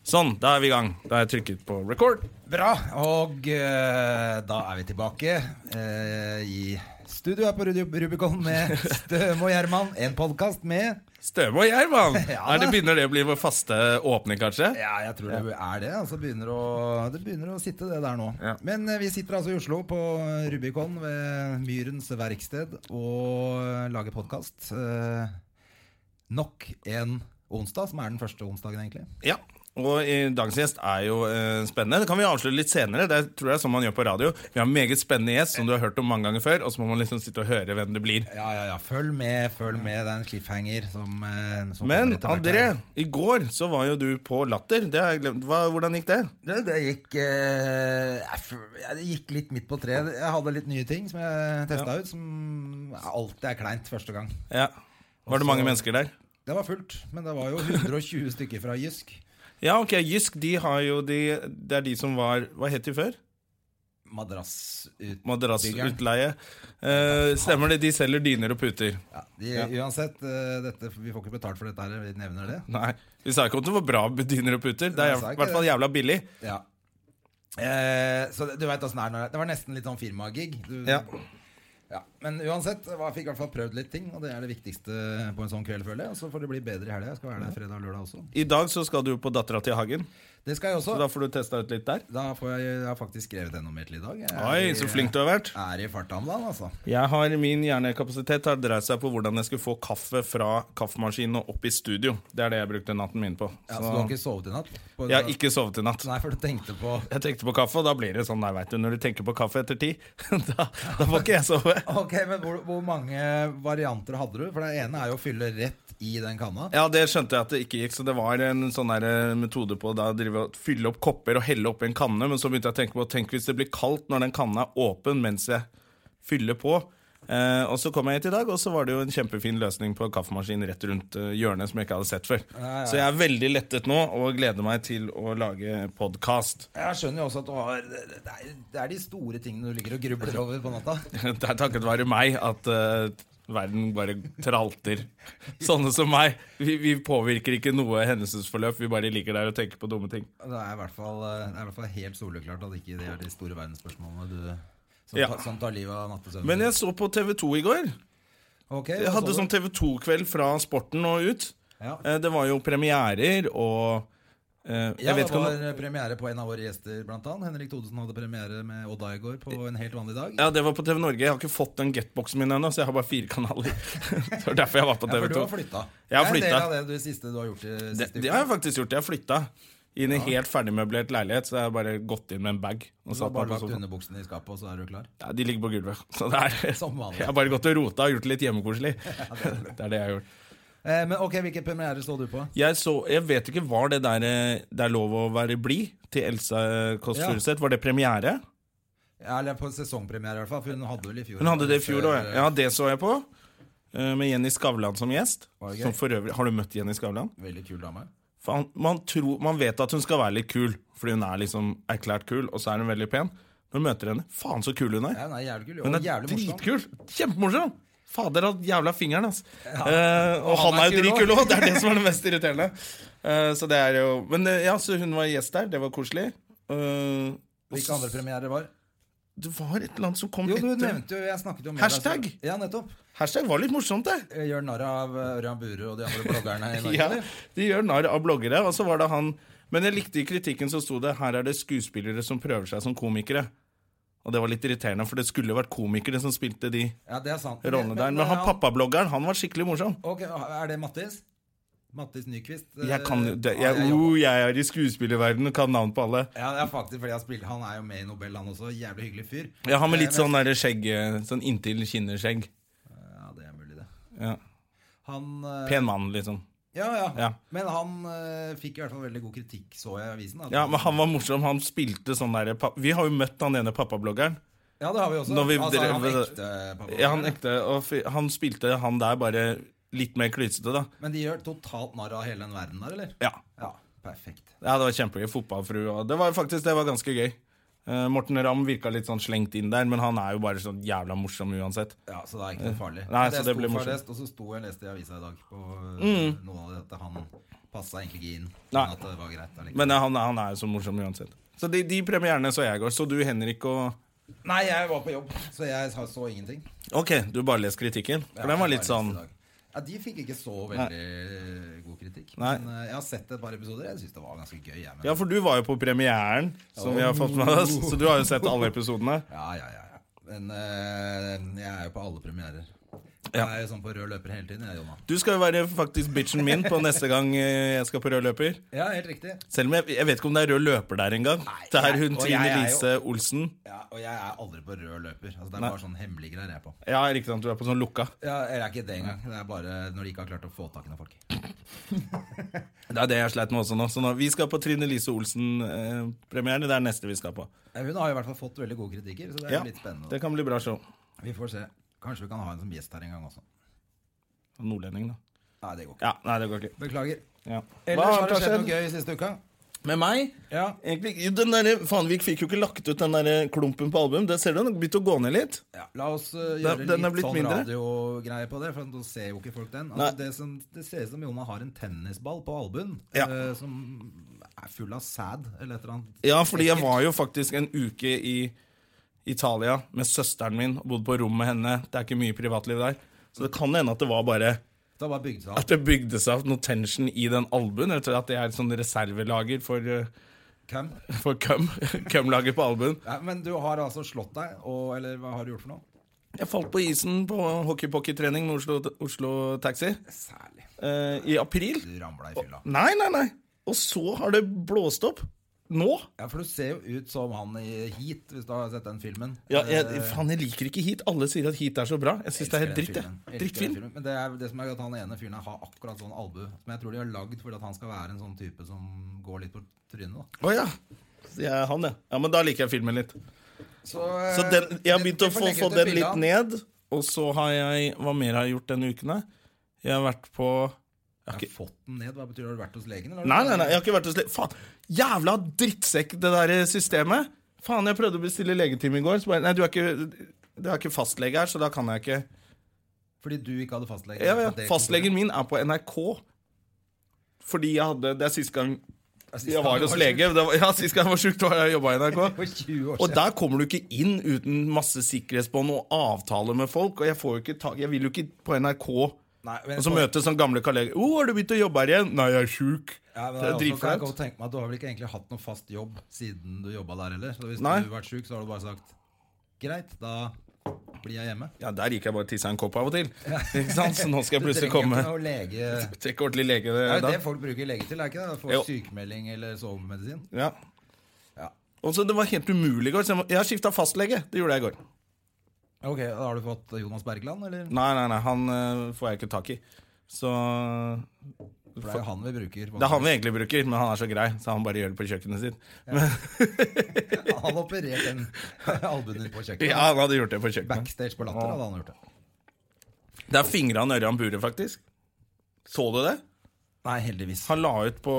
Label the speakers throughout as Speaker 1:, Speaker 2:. Speaker 1: Sånn, da er vi i gang. Da har jeg trykket på record.
Speaker 2: Bra, og eh, da er vi tilbake eh, i studio her på Rudi- Rubicon med Støm og Gjerman. En podkast med
Speaker 1: Støme og Gjerman!
Speaker 2: Ja.
Speaker 1: Er det Begynner det å bli vår faste åpning, kanskje?
Speaker 2: Ja, jeg tror det er det. Altså begynner å, det begynner å sitte, det der nå.
Speaker 1: Ja.
Speaker 2: Men eh, vi sitter altså i Oslo, på Rubicon ved Myrens verksted, og eh, lager podkast. nok en onsdag, som er den første onsdagen, egentlig.
Speaker 1: Ja. Og eh, dagens gjest er jo eh, spennende. Det kan vi avsløre litt senere. Det tror jeg er sånn man gjør på radio. Vi har en meget spennende gjest som du har hørt om mange ganger før, og så må man liksom sitte og høre hvem det blir.
Speaker 2: Ja, ja, ja. Følg med, følg med. Det er en cliffhanger som, eh, som
Speaker 1: Men
Speaker 2: kommer etter hvert
Speaker 1: André,
Speaker 2: her.
Speaker 1: i går så var jo du på Latter. Det har jeg glemt. Hva, hvordan gikk det?
Speaker 2: Det, det gikk eh, jeg f- ja, Det gikk litt midt på treet. Jeg hadde litt nye ting som jeg testa ut, som alltid er kleint første gang.
Speaker 1: Ja. Var det mange mennesker der?
Speaker 2: Det var fullt, men det var jo 120 stykker fra Jysk.
Speaker 1: Ja, ok. Jysk, de har jo de Det er de som var Hva het de før?
Speaker 2: Madrass ut...
Speaker 1: Madrassutleie. Eh, stemmer det? De selger dyner og puter.
Speaker 2: Ja, de, Uansett, eh, dette, vi får ikke betalt for dette her, vi nevner det.
Speaker 1: Nei. Vi sa ikke om det var bra dyner og puter. Det
Speaker 2: Nei,
Speaker 1: er
Speaker 2: jeg
Speaker 1: i
Speaker 2: sa ikke
Speaker 1: hvert fall jævla billig.
Speaker 2: Ja. Eh, så det- du veit åssen det er når det Det var nesten litt sånn firmagig. Du-
Speaker 1: Ja.
Speaker 2: Ja, Men uansett, jeg fikk i hvert fall prøvd litt ting, og det er det viktigste på en sånn kveld, føler jeg. Og så får det bli bedre i helga. Jeg skal være der fredag og lørdag også.
Speaker 1: I dag så skal du på Dattera til Hagen,
Speaker 2: Det skal jeg
Speaker 1: så
Speaker 2: også.
Speaker 1: da får du testa ut litt der.
Speaker 2: Da får jeg, jeg har faktisk skrevet gjennom mer til i dag. Jeg er
Speaker 1: Oi,
Speaker 2: i-
Speaker 1: så flink du har vært.
Speaker 2: Er i farta om dagen, altså.
Speaker 1: Jeg har Min hjernekapasitet har dreid seg på hvordan jeg skulle få kaffe fra kaffemaskinen og opp i studio. Det er det jeg brukte natten min på.
Speaker 2: Ja, så du har
Speaker 1: Så
Speaker 2: ikke sovet i natt? På-
Speaker 1: jeg har ikke sovet i natt.
Speaker 2: Nei, for du tenkte på
Speaker 1: Jeg tenkte på kaffe, og da blir det sånn Nei, vet du, når du tenker på kaffe etter ti, da, da får ikke jeg sove.
Speaker 2: Ok, men hvor, hvor mange varianter hadde du? For det ene er jo å fylle rett i den kanna.
Speaker 1: Ja, det skjønte jeg at det ikke gikk, så det var en sånn der eh, metode på da å drive og fylle opp kopper og helle opp i en kanne, men så begynte jeg å tenke på tenk hvis det blir kaldt når den kanna er åpen mens jeg fyller på. Eh, og så kom jeg hit i dag, og så var det jo en kjempefin løsning på kaffemaskinen rett rundt eh, hjørnet som jeg ikke hadde sett før.
Speaker 2: ja, ja.
Speaker 1: Så jeg er veldig lettet nå, og gleder meg til å lage podkast.
Speaker 2: Jeg skjønner jo også at du har Det det er, det er de store tingene du ligger og grubler over på natta.
Speaker 1: Det er takket være meg at eh, verden bare tralter. Sånne som meg. Vi, vi påvirker ikke noe hendelsesforløp, vi bare ligger der og tenker på dumme ting.
Speaker 2: Det er i hvert fall, eh, det er i hvert fall helt soleklart at ikke det er de store verdensspørsmålene du som,
Speaker 1: Ja.
Speaker 2: tar- som tar livet av nattesøvnen.
Speaker 1: Men jeg så på TV 2 i går.
Speaker 2: Ok,
Speaker 1: Jeg hadde sånn TV 2-kveld fra sporten og ut.
Speaker 2: ja.
Speaker 1: Eh, Det var jo premierer og eh,
Speaker 2: Ja,
Speaker 1: Jeg vet
Speaker 2: det
Speaker 1: ikke
Speaker 2: var
Speaker 1: om
Speaker 2: premiere på en av våre gjester, blant annet. Henrik Thodesen hadde premiere med Odd Aigård på en helt vanlig dag.
Speaker 1: ja, det var på TV Norge. Jeg har ikke fått den getboxen min ennå, så jeg har bare fire kanaler. Det var derfor jeg var på
Speaker 2: Ja,
Speaker 1: TV
Speaker 2: for du
Speaker 1: 2.
Speaker 2: har flytta.
Speaker 1: Jeg har
Speaker 2: Det er en
Speaker 1: flytta.
Speaker 2: del av det du, siste du har gjort i
Speaker 1: Det,
Speaker 2: siste
Speaker 1: det har jeg faktisk gjort. Jeg har flytta i en helt ferdigmøblert leilighet, så jeg har bare gått inn med en bag. Og
Speaker 2: Du har
Speaker 1: satt meg på sånn.
Speaker 2: bare lagt
Speaker 1: sofaen.
Speaker 2: underbuksene i skapet, og så er du klar.
Speaker 1: Ja, de ligger på gulvet. Så det er,
Speaker 2: Som vanlig.
Speaker 1: jeg har bare gått og rota og gjort det litt hjemmekoselig. Det er det jeg har gjort.
Speaker 2: Eh, men ok, hvilken premiere så du på?
Speaker 1: Jeg, så, jeg vet ikke, var det der eh, det er lov å være blid til Elsa eh, Kåss
Speaker 2: Ja.
Speaker 1: Furuseth? Var det premiere?
Speaker 2: Ja, Eller på sesongpremiere, i hvert fall. For hun hadde vel i fjor.
Speaker 1: Hun hadde det i fjor òg, ja.
Speaker 2: ja.
Speaker 1: ja. Det så jeg på. eh, Med Jenny Skavlan som gjest.
Speaker 2: Var det gøy?
Speaker 1: Som for øvrig, har du møtt Jenny Skavlan?
Speaker 2: Veldig kul dame.
Speaker 1: Faen, man, tror, man vet at hun skal være litt kul, fordi hun er liksom erklært kul, og så er hun veldig pen. Når du møter henne, faen så kul hun er!
Speaker 2: Ja, hun er jævlig kul.
Speaker 1: Hun
Speaker 2: Og
Speaker 1: er
Speaker 2: jævlig morsom.
Speaker 1: dritkul! Kjempemorsom! Fader av jævla fingeren, ass. Eh, og
Speaker 2: han
Speaker 1: han er jo
Speaker 2: er kul
Speaker 1: dritkul òg! Det er det som er det mest irriterende. Eh, så det er jo Men eh, ja, så hun var gjest der. Det var koselig. Eh, og
Speaker 2: Hvilke andre premierer var?
Speaker 1: det var et eller annet som kom
Speaker 2: Jo, du
Speaker 1: etter.
Speaker 2: nevnte jo Jeg snakket jo med deg
Speaker 1: Hashtag?
Speaker 2: selv. Ja, nettopp.
Speaker 1: Hashtag var litt morsomt, det.
Speaker 2: Eh, Gjør narr av eh, Ørjan Burøe og de andre bloggerne i Norge.
Speaker 1: Ja,
Speaker 2: eller?
Speaker 1: de gjør narr av bloggere. Og så var det han Men jeg likte i kritikken så sto det her er det skuespillere som prøver seg som komikere. Og det var litt irriterende, for det skulle vært komikere som spilte de
Speaker 2: ja, det er sant.
Speaker 1: rollene der. Men han pappabloggeren, han var skikkelig morsom.
Speaker 2: Ok, Er det Mattis? Mattis Nyquist? eh,
Speaker 1: Jeg kan jo- det,
Speaker 2: ja,
Speaker 1: jeg,
Speaker 2: jeg jobber-
Speaker 1: oh, jeg er i skuespillerverdenen og kan navn på alle.
Speaker 2: Ja, det er faktisk fordi jeg spiller, Han er jo med i Nobel, han også. Jævlig hyggelig fyr.
Speaker 1: Jeg har med
Speaker 2: Eh,
Speaker 1: litt sånn der skjegg eh, Sånn inntil kinneskjegg. sånn-
Speaker 2: Ja, det er mulig, det.
Speaker 1: Ja.
Speaker 2: Han eh,
Speaker 1: Pen mann, liksom.
Speaker 2: Ja, ja.
Speaker 1: Ja.
Speaker 2: Men han eh, fikk i hvert fall veldig god kritikk, så jeg i avisen. at
Speaker 1: Ja, men han var morsom. Han spilte sånn derre pa- Vi har jo møtt han ene pappabloggeren.
Speaker 2: Ja, det har vi også.
Speaker 1: Når vi
Speaker 2: altså, han
Speaker 1: drev-
Speaker 2: ekte pappa.
Speaker 1: Ja, han ekte Og fy- han spilte han der bare litt mer klysete, da.
Speaker 2: Men de gjør totalt narr av hele den verden der, eller?
Speaker 1: Ja.
Speaker 2: Ja, perfekt.
Speaker 1: ja det var kjempegøy. Fotballfrue og Det var faktisk det var ganske gøy. Eh, Morten Ramm virka litt sånn slengt inn der, men han er jo bare sånn jævla morsom uansett.
Speaker 2: Ja, Så det er ikke noe farlig.
Speaker 1: Mm. Nei,
Speaker 2: Men
Speaker 1: så det
Speaker 2: sto
Speaker 1: blir morsomt. Mm.
Speaker 2: farligst, Og så sto jeg og leste i avisa i dag på eh, noe av det at han Passa egentlig ikke inn.
Speaker 1: Nei.
Speaker 2: Men at det var greit allikevel.
Speaker 1: Men eh, han, han er jo så morsom uansett. Så de, de premierene så jeg i går. Så du, Henrik og
Speaker 2: Nei, jeg var på jobb, så jeg sa- så ingenting.
Speaker 1: Ok, du bare les kritikken. For den var litt sånn
Speaker 2: Ja, De fikk ikke så veldig god kritikk.
Speaker 1: Nei.
Speaker 2: Men eh, jeg har sett et par episoder. Jeg syns det var ganske gøy. Jeg, men...
Speaker 1: Ja, for du var jo på premieren, som vi har fått med oss. Så du har jo sett alle episodene.
Speaker 2: ja, ja, ja, ja. Men eh, jeg er jo på alle premierer.
Speaker 1: Ja.
Speaker 2: Jeg er jo sånn på rød løper hele tiden, jeg, Jonna.
Speaker 1: Du skal jo være faktisk bitchen min på neste gang eh, jeg skal på rød løper.
Speaker 2: Ja, helt riktig.
Speaker 1: Selv om jeg, jeg vet ikke om det er rød løper der engang.
Speaker 2: Nei,
Speaker 1: Det er
Speaker 2: jeg-
Speaker 1: hun
Speaker 2: og
Speaker 1: Trine
Speaker 2: jeg er jo-
Speaker 1: Lise Olsen.
Speaker 2: Ja, og jeg er aldri på rød løper. Altså, det er
Speaker 1: Nei.
Speaker 2: bare sånn hemmelige greier jeg er på.
Speaker 1: Ja, riktig sant, du er på sånn lukka.
Speaker 2: Ja, Eller er ikke det engang. Det er bare når de ikke har klart å få tak i noen folk.
Speaker 1: Det er det jeg sleit med også nå. Så nå, vi skal på Trine Lise Olsen-premieren. det er neste vi skal på.
Speaker 2: Eh, Hun har jo i hvert fall fått veldig gode kritikker, så det er
Speaker 1: Ja,
Speaker 2: jo litt spennende.
Speaker 1: det kan bli bra show.
Speaker 2: Vi får se. Kanskje vi kan ha henne som gjest her en gang også.
Speaker 1: Nordlending, da.
Speaker 2: Nei, det går ikke.
Speaker 1: Ja, nei, det går ikke.
Speaker 2: Beklager.
Speaker 1: Ja. Hva
Speaker 2: Ellers har
Speaker 1: annet
Speaker 2: det skjedd noe gøy siste uka.
Speaker 1: Med meg?
Speaker 2: Ja.
Speaker 1: Egentlig, ikke. den der, Fanvik fikk jo ikke lagt ut den der eh, klumpen på album. Det ser du, den har begynt å gå ned litt.
Speaker 2: La oss eh, gjøre
Speaker 1: Den- den er
Speaker 2: litt
Speaker 1: blitt
Speaker 2: sånn
Speaker 1: mindre.
Speaker 2: radiogreie på det, for nå ser jo ikke folk den.
Speaker 1: Nei.
Speaker 2: Altså, det, som, det ser ut som Jonna har en tennisball på albuen
Speaker 1: Ja.
Speaker 2: eh, som er full av sæd eller et eller annet.
Speaker 1: Ja, fordi jeg var jo faktisk en uke i Italia med søsteren min og bodde på rom med henne. Det er ikke mye privatliv der. Så det kan hende at det var bare
Speaker 2: Det har bare bygd seg
Speaker 1: at
Speaker 2: opp.
Speaker 1: det bygde seg opp noe tension i den albuen. Rett og slett at det er et sånn reservelager for, eh,
Speaker 2: Hvem?
Speaker 1: for cum. Cum-lager på albuen.
Speaker 2: Ja, men du har altså slått deg, og, eller hva har du gjort for noe?
Speaker 1: Jeg falt på isen på hockeypocky-trening med Oslo, Oslo Taxi
Speaker 2: Særlig.
Speaker 1: eh, i april.
Speaker 2: Du ramla i fylla.
Speaker 1: Nei, nei, nei. Og så har det blåst opp. Nå?
Speaker 2: Ja, for du ser jo ut som han i Heat, hvis du har sett den filmen.
Speaker 1: Ja, jeg,
Speaker 2: Eh,
Speaker 1: faen, jeg liker ikke heat. Alle sier at heat er så bra. Jeg syns det
Speaker 2: elsker
Speaker 1: er helt
Speaker 2: den
Speaker 1: dritt. jeg.
Speaker 2: filmen. Elsker den
Speaker 1: Drittfilm.
Speaker 2: filmen. Men det er det som er at han ene fyren her har akkurat sånn albu. Som jeg tror de har lagd fordi at han skal være en sånn type som går litt på trynet.
Speaker 1: Å ja. Så jeg er han, ja. ja. Men da liker jeg filmen litt.
Speaker 2: Da. Så, eh,
Speaker 1: Så den, jeg har
Speaker 2: vi-
Speaker 1: begynt
Speaker 2: vi
Speaker 1: å
Speaker 2: får
Speaker 1: få,
Speaker 2: legge
Speaker 1: få
Speaker 2: ut et
Speaker 1: den
Speaker 2: bilde av
Speaker 1: litt
Speaker 2: han.
Speaker 1: ned. Og så har jeg Hva mer har jeg gjort denne uken, da? Jeg har vært på jeg har
Speaker 2: Jeg
Speaker 1: ikke,
Speaker 2: har fått den ned. Hva betyr det? Har du vært hos legen? Eller?
Speaker 1: Nei, nei, nei. Jeg har ikke vært hos legen. Faen! Jævla drittsekk, det der systemet! Faen, jeg prøvde å bestille legetime i går. Så bare, nei, du er ikke, det er ikke fastlege her, så da kan jeg ikke
Speaker 2: Fordi du ikke hadde fastlege?
Speaker 1: ja, ja.
Speaker 2: Det-
Speaker 1: Fastlegen min er på NRK. Fordi jeg hadde Det er siste gang jeg var hos lege. Det var, ja, Sist gang jeg var sjuk, var jeg jobba i NRK.
Speaker 2: For 20 år
Speaker 1: Og
Speaker 2: siden.
Speaker 1: der kommer du ikke inn uten masse sikkerhetsbånd og avtaler med folk. Og jeg, får jo ikke ta, jeg vil jo ikke på NRK og
Speaker 2: Nei, men-
Speaker 1: så møte sånn gamle kolleger. 'Å, har du begynt å jobbe her igjen?' 'Nei, jeg er sjuk'. det
Speaker 2: Ja, men
Speaker 1: er
Speaker 2: også kan jeg
Speaker 1: dritflaut.
Speaker 2: godt tenke meg at Du har vel ikke egentlig hatt noen fast jobb siden du jobba der heller? Så hvis
Speaker 1: Nei.
Speaker 2: du har vært sjuk, så har du bare sagt greit, da blir jeg hjemme.
Speaker 1: Ja, der gikk jeg bare og tissa en kopp av og til. Ikke sant? Så nå skal jeg
Speaker 2: Du trenger
Speaker 1: plutselig
Speaker 2: ikke
Speaker 1: komme.
Speaker 2: noe lege...
Speaker 1: Trekke ordentlig lege det,
Speaker 2: Det er jo
Speaker 1: da.
Speaker 2: det folk bruker lege til, er ikke det? Få
Speaker 1: Jo.
Speaker 2: sykemelding eller sovemedisin.
Speaker 1: Ja.
Speaker 2: Ja.
Speaker 1: Og så Det var helt umulig i går. Så jeg må- jeg har skifta fastlege. Det gjorde jeg i går.
Speaker 2: Ok, da Har du fått Jonas Bergland, eller?
Speaker 1: Nei, nei, nei, han øh, får jeg ikke tak i. Så
Speaker 2: For det er jo han vi bruker.
Speaker 1: Det er han vi egentlig bruker, men han er så grei, så han bare gjør det på kjøkkenet sitt.
Speaker 2: Han opererte en albuen din på kjøkkenet.
Speaker 1: Ja, han hadde gjort det på kjøkkenet.
Speaker 2: Backstage på Latter hadde han gjort det.
Speaker 1: Det er fingra av Ørjan Bure, faktisk. Så du det?
Speaker 2: Nei, heldigvis.
Speaker 1: Han la ut på,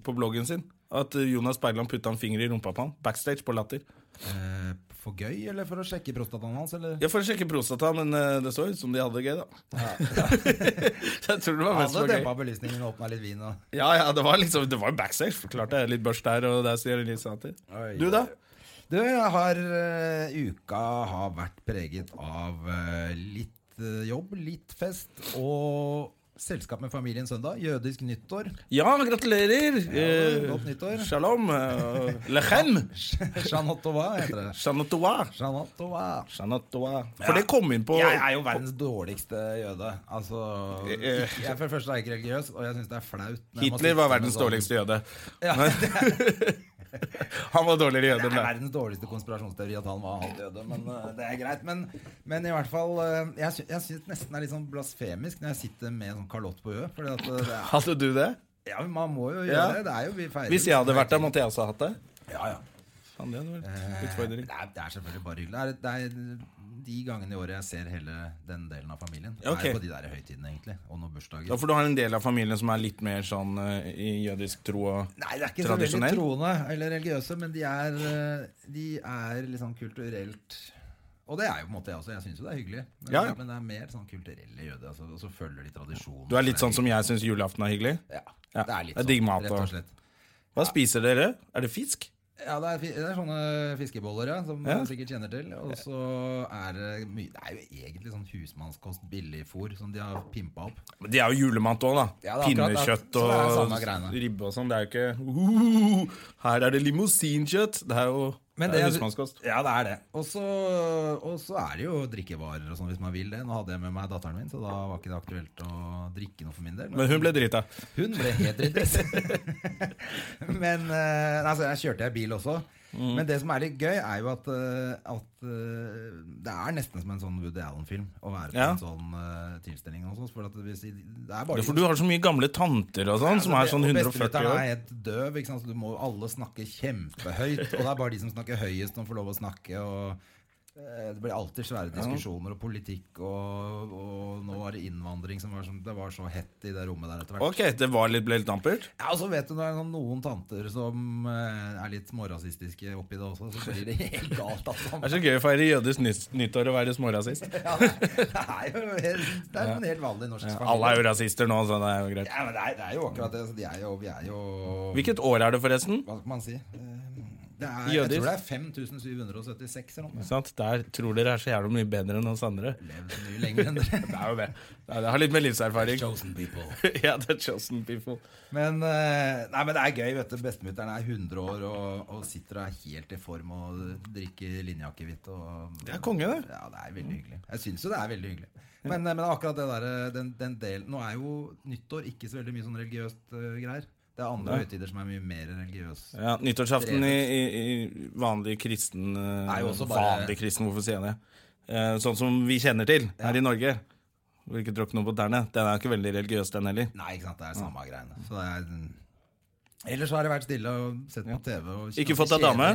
Speaker 1: på bloggen sin at eh, Jonas Bergland putta en finger i rumpa på han. Backstage på Latter.
Speaker 2: Eh, for gøy, eller for å sjekke prostataen hans, eller?
Speaker 1: Jeg får sjekke prostata, men eh, det så ut som de hadde det gøy, da. jeg tror det var
Speaker 2: Han
Speaker 1: mest
Speaker 2: hadde
Speaker 1: for gøy.
Speaker 2: dempa belysningen og åpna litt vin og
Speaker 1: Ja, ja, det var liksom Det var jo backstage. Forklart det. Litt børst der og der. sier Elise Sæther.
Speaker 2: Oi,
Speaker 1: Du, da?
Speaker 2: Du, jeg har eh, Uka har vært preget av eh, litt eh, jobb, litt fest og selskap med familien søndag. Jødisk nyttår.
Speaker 1: Ja, gratulerer! Eh,
Speaker 2: godt nyttår.
Speaker 1: Shalom. eh, Lechem.
Speaker 2: Jeanette Auvin heter det.
Speaker 1: Shanatoa.
Speaker 2: Jeanette Auvin.
Speaker 1: Shanatoa. For det kom inn på
Speaker 2: Jeg er jo verdens dårligste jøde. Altså,
Speaker 1: Eh,
Speaker 2: jeg,
Speaker 1: eh.
Speaker 2: for det første er jeg ikke religiøs, og jeg syns det er flaut. når jeg må
Speaker 1: Hitler var
Speaker 2: sitte med
Speaker 1: verdens
Speaker 2: sånn-
Speaker 1: dårligste jøde.
Speaker 2: Ja, det
Speaker 1: Han var dårligere jøde
Speaker 2: er
Speaker 1: enn deg.
Speaker 2: verdens dårligste konspirasjonsteori at han var halvt jøde, men eh, det er greit. Men, men i hvert fall eh, Jeg, sy jeg syns nesten det er litt sånn blasfemisk når jeg sitter med en sånn kalott på huet. Fordi at eh, det er,
Speaker 1: Hadde du det?
Speaker 2: ja, men man må jo gjøre
Speaker 1: Ja.
Speaker 2: det. Det er jo vi feirer.
Speaker 1: Hvis jeg hadde vært der, måtte jeg også ha hatt det?
Speaker 2: Ja, ja.
Speaker 1: Faen, det hadde
Speaker 2: Eh,
Speaker 1: vært utfordring.
Speaker 2: Det er, det er selvfølgelig bare hyggelig. Det er, det er de gangene i året jeg ser hele den delen av familien. Det
Speaker 1: Ok.
Speaker 2: er jo på de der høytidene, egentlig. Og noen bursdager.
Speaker 1: Ja, for du har en del av familien som er litt mer sånn eh, i jødisk tro og
Speaker 2: Nei, det er ikke så veldig
Speaker 1: Tradisjonell?
Speaker 2: troende eller religiøse, men de er, eh, de er liksom kulturelt Og det er jo på en måte jeg også. Jeg syns jo det er hyggelig. Men,
Speaker 1: Ja, ja.
Speaker 2: men det er mer sånn kulturelle jøder. Altså, og så følger de tradisjonen.
Speaker 1: Du er litt sånn som jeg syns julaften er hyggelig?
Speaker 2: Ja.
Speaker 1: Ja,
Speaker 2: Det er litt
Speaker 1: det er
Speaker 2: sånn,
Speaker 1: digg mat,
Speaker 2: rett og
Speaker 1: da.
Speaker 2: slett.
Speaker 1: Hva spiser dere? Er det fisk?
Speaker 2: Ja, det er, fi- det er sånne fiskeboller, ja, som
Speaker 1: Ja.
Speaker 2: man sikkert kjenner til. Og så er det mye Det er jo egentlig sånn husmannskost, billigfôr, som de har pimpa opp.
Speaker 1: Men De er jo julemat òg, da.
Speaker 2: Ja, det er akkurat det.
Speaker 1: Pinnekjøtt
Speaker 2: Så det er
Speaker 1: og
Speaker 2: samme greiene.
Speaker 1: ribbe og sånn. Det er jo ikke «Uh, Her er det limousinkjøtt! Det er jo
Speaker 2: Men
Speaker 1: det er
Speaker 2: det er-
Speaker 1: husmannskost.
Speaker 2: Ja, det er det. Og så, og så er det jo drikkevarer og sånn, hvis man vil det. Nå hadde jeg med meg datteren min, så da var ikke det aktuelt å drikke noe for min del.
Speaker 1: Men hun ble drita.
Speaker 2: Hun ble helt drittsekk. Men eh, nei, altså, jeg kjørte jeg bil også.
Speaker 1: Mm.
Speaker 2: Men det som er litt gøy, er jo at, eh, at eh, det er nesten som en sånn Woody Allen-film å være på
Speaker 1: Ja.
Speaker 2: en sånn eh, tilstelning. Og sånt, for at hvis, det er bare
Speaker 1: Ja, For du har så mye gamle tanter og sånn, som er sånn
Speaker 2: og
Speaker 1: 140
Speaker 2: bestemutteren
Speaker 1: år.
Speaker 2: er helt døv, ikke sant? så du må alle snakke kjempehøyt. Og det er bare de som snakker høyest, som får lov å snakke. Og eh, det blir alltid svære diskusjoner og politikk, og, og nå var det innvandring som var sånn Det var så hett i det rommet der etter hvert.
Speaker 1: Ok, det var litt, ble litt dampert?
Speaker 2: Ja, og så vet du, det er noen- noen tanter som eh, er litt smårasistiske oppi det også, så blir det helt galt,
Speaker 1: Det
Speaker 2: altså.
Speaker 1: er så gøy å feire jødes nytt- nyttår og være smårasist.
Speaker 2: Ja, det er jo helt, det er jo en helt vanlig norsk
Speaker 1: Ja,
Speaker 2: familie.
Speaker 1: alle er jo rasister nå, så det er jo greit.
Speaker 2: Ja, men det er, det er jo akkurat det. Så de er jo, vi er jo
Speaker 1: Hvilket år er det, forresten?
Speaker 2: Hva skal man si? Eh, Det er, jeg
Speaker 1: Jødisk.
Speaker 2: tror det er 5776 eller noe.
Speaker 1: Sant? Der tror dere er så jævlig mye bedre enn oss andre.
Speaker 2: Levd så mye lenger enn dere.
Speaker 1: Det er jo det. Det er- det har litt med livserfaring.
Speaker 2: Chosen people.
Speaker 1: ja, det er chosen people.
Speaker 2: Men, eh, nei, men det er gøy. vet du Bestemutteren er 100 år og, og sitter og er helt i form og drikker linjeakevitt. og-
Speaker 1: Det er konge, det.
Speaker 2: Ja, det er veldig hyggelig. Jeg syns jo det er veldig hyggelig. Men, eh, men akkurat det der, eh, den, den delen Nå er jo nyttår ikke så veldig mye sånn religiøst eh, greier. Det er andre
Speaker 1: Nei.
Speaker 2: høytider som er mye mer religiøse.
Speaker 1: Ja, Nyttårsaften i, i, i vanlig kristen eh,
Speaker 2: Er jo også bare-
Speaker 1: Vanlig kristen, hvorfor sier jeg det? Eh, Sånn som vi kjenner til her i Norge. Vil ikke tråkke noe på tærne. Den er ikke veldig religiøs, den heller.
Speaker 2: Nei, ikke sant. Det er samme greiene. Så det er Ellers så har det vært stille og sett på TV. Og
Speaker 1: Ikke fått deg dame?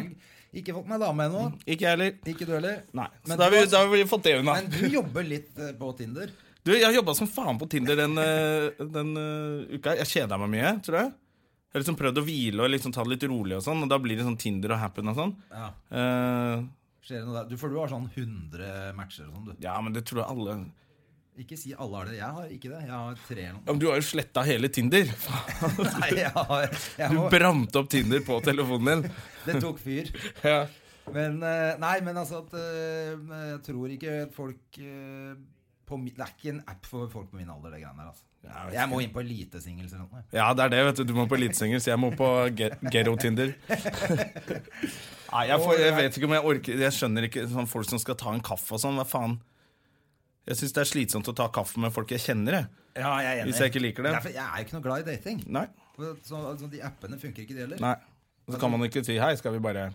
Speaker 2: Ikke fått meg dame ennå.
Speaker 1: Ikke jeg heller.
Speaker 2: Ikke du heller.
Speaker 1: Nei. Så
Speaker 2: Men
Speaker 1: da har, vi,
Speaker 2: du-
Speaker 1: da har vi fått det unna.
Speaker 2: Men du jobber litt eh, på Tinder.
Speaker 1: Du, jeg har jobba som faen på Tinder den, eh, den eh, uka. Jeg kjeda meg mye, tror jeg. Jeg har liksom prøvd å hvile og liksom ta det litt rolig, og sånn Og da blir det sånn Tinder og Happen og sånn.
Speaker 2: Ja
Speaker 1: Eh,
Speaker 2: Skjer det noe der? Du, for du har sånn 100 matcher og sånn, du.
Speaker 1: ja, men det tror jeg alle ja,
Speaker 2: Ikke si alle har det. Jeg har ikke det. Jeg har tre eller noe.
Speaker 1: men Du har jo sletta hele Tinder! Faen.
Speaker 2: Nei, jeg har, jeg
Speaker 1: Du
Speaker 2: må,
Speaker 1: brant opp Tinder på telefonen din.
Speaker 2: det tok fyr.
Speaker 1: Ja.
Speaker 2: Men eh, nei, men altså at eh, Jeg tror ikke folk eh, på mi, Det er ikke en app for folk på min alder, det greiene der.
Speaker 1: Ja, jeg
Speaker 2: altså
Speaker 1: vet
Speaker 2: Jeg må inn på elitesingels eller noe.
Speaker 1: Ja, det er det, vet du. Du må på elitesenger, så jeg må på ge- ghetto-Tinder. Nei, jeg, får, jeg vet ikke om jeg orker Jeg skjønner ikke sånn folk som skal ta en kaffe og sånn. Hva faen? Jeg syns det er slitsomt å ta kaffe med folk jeg kjenner, jeg.
Speaker 2: Ja, jeg er
Speaker 1: Hvis jeg ikke liker det.
Speaker 2: Derfor, jeg er jo ikke noe glad i dating.
Speaker 1: Nei.
Speaker 2: For Så, altså, de appene funker ikke, de heller.
Speaker 1: Nei. Så kan man ikke si hei, skal vi bare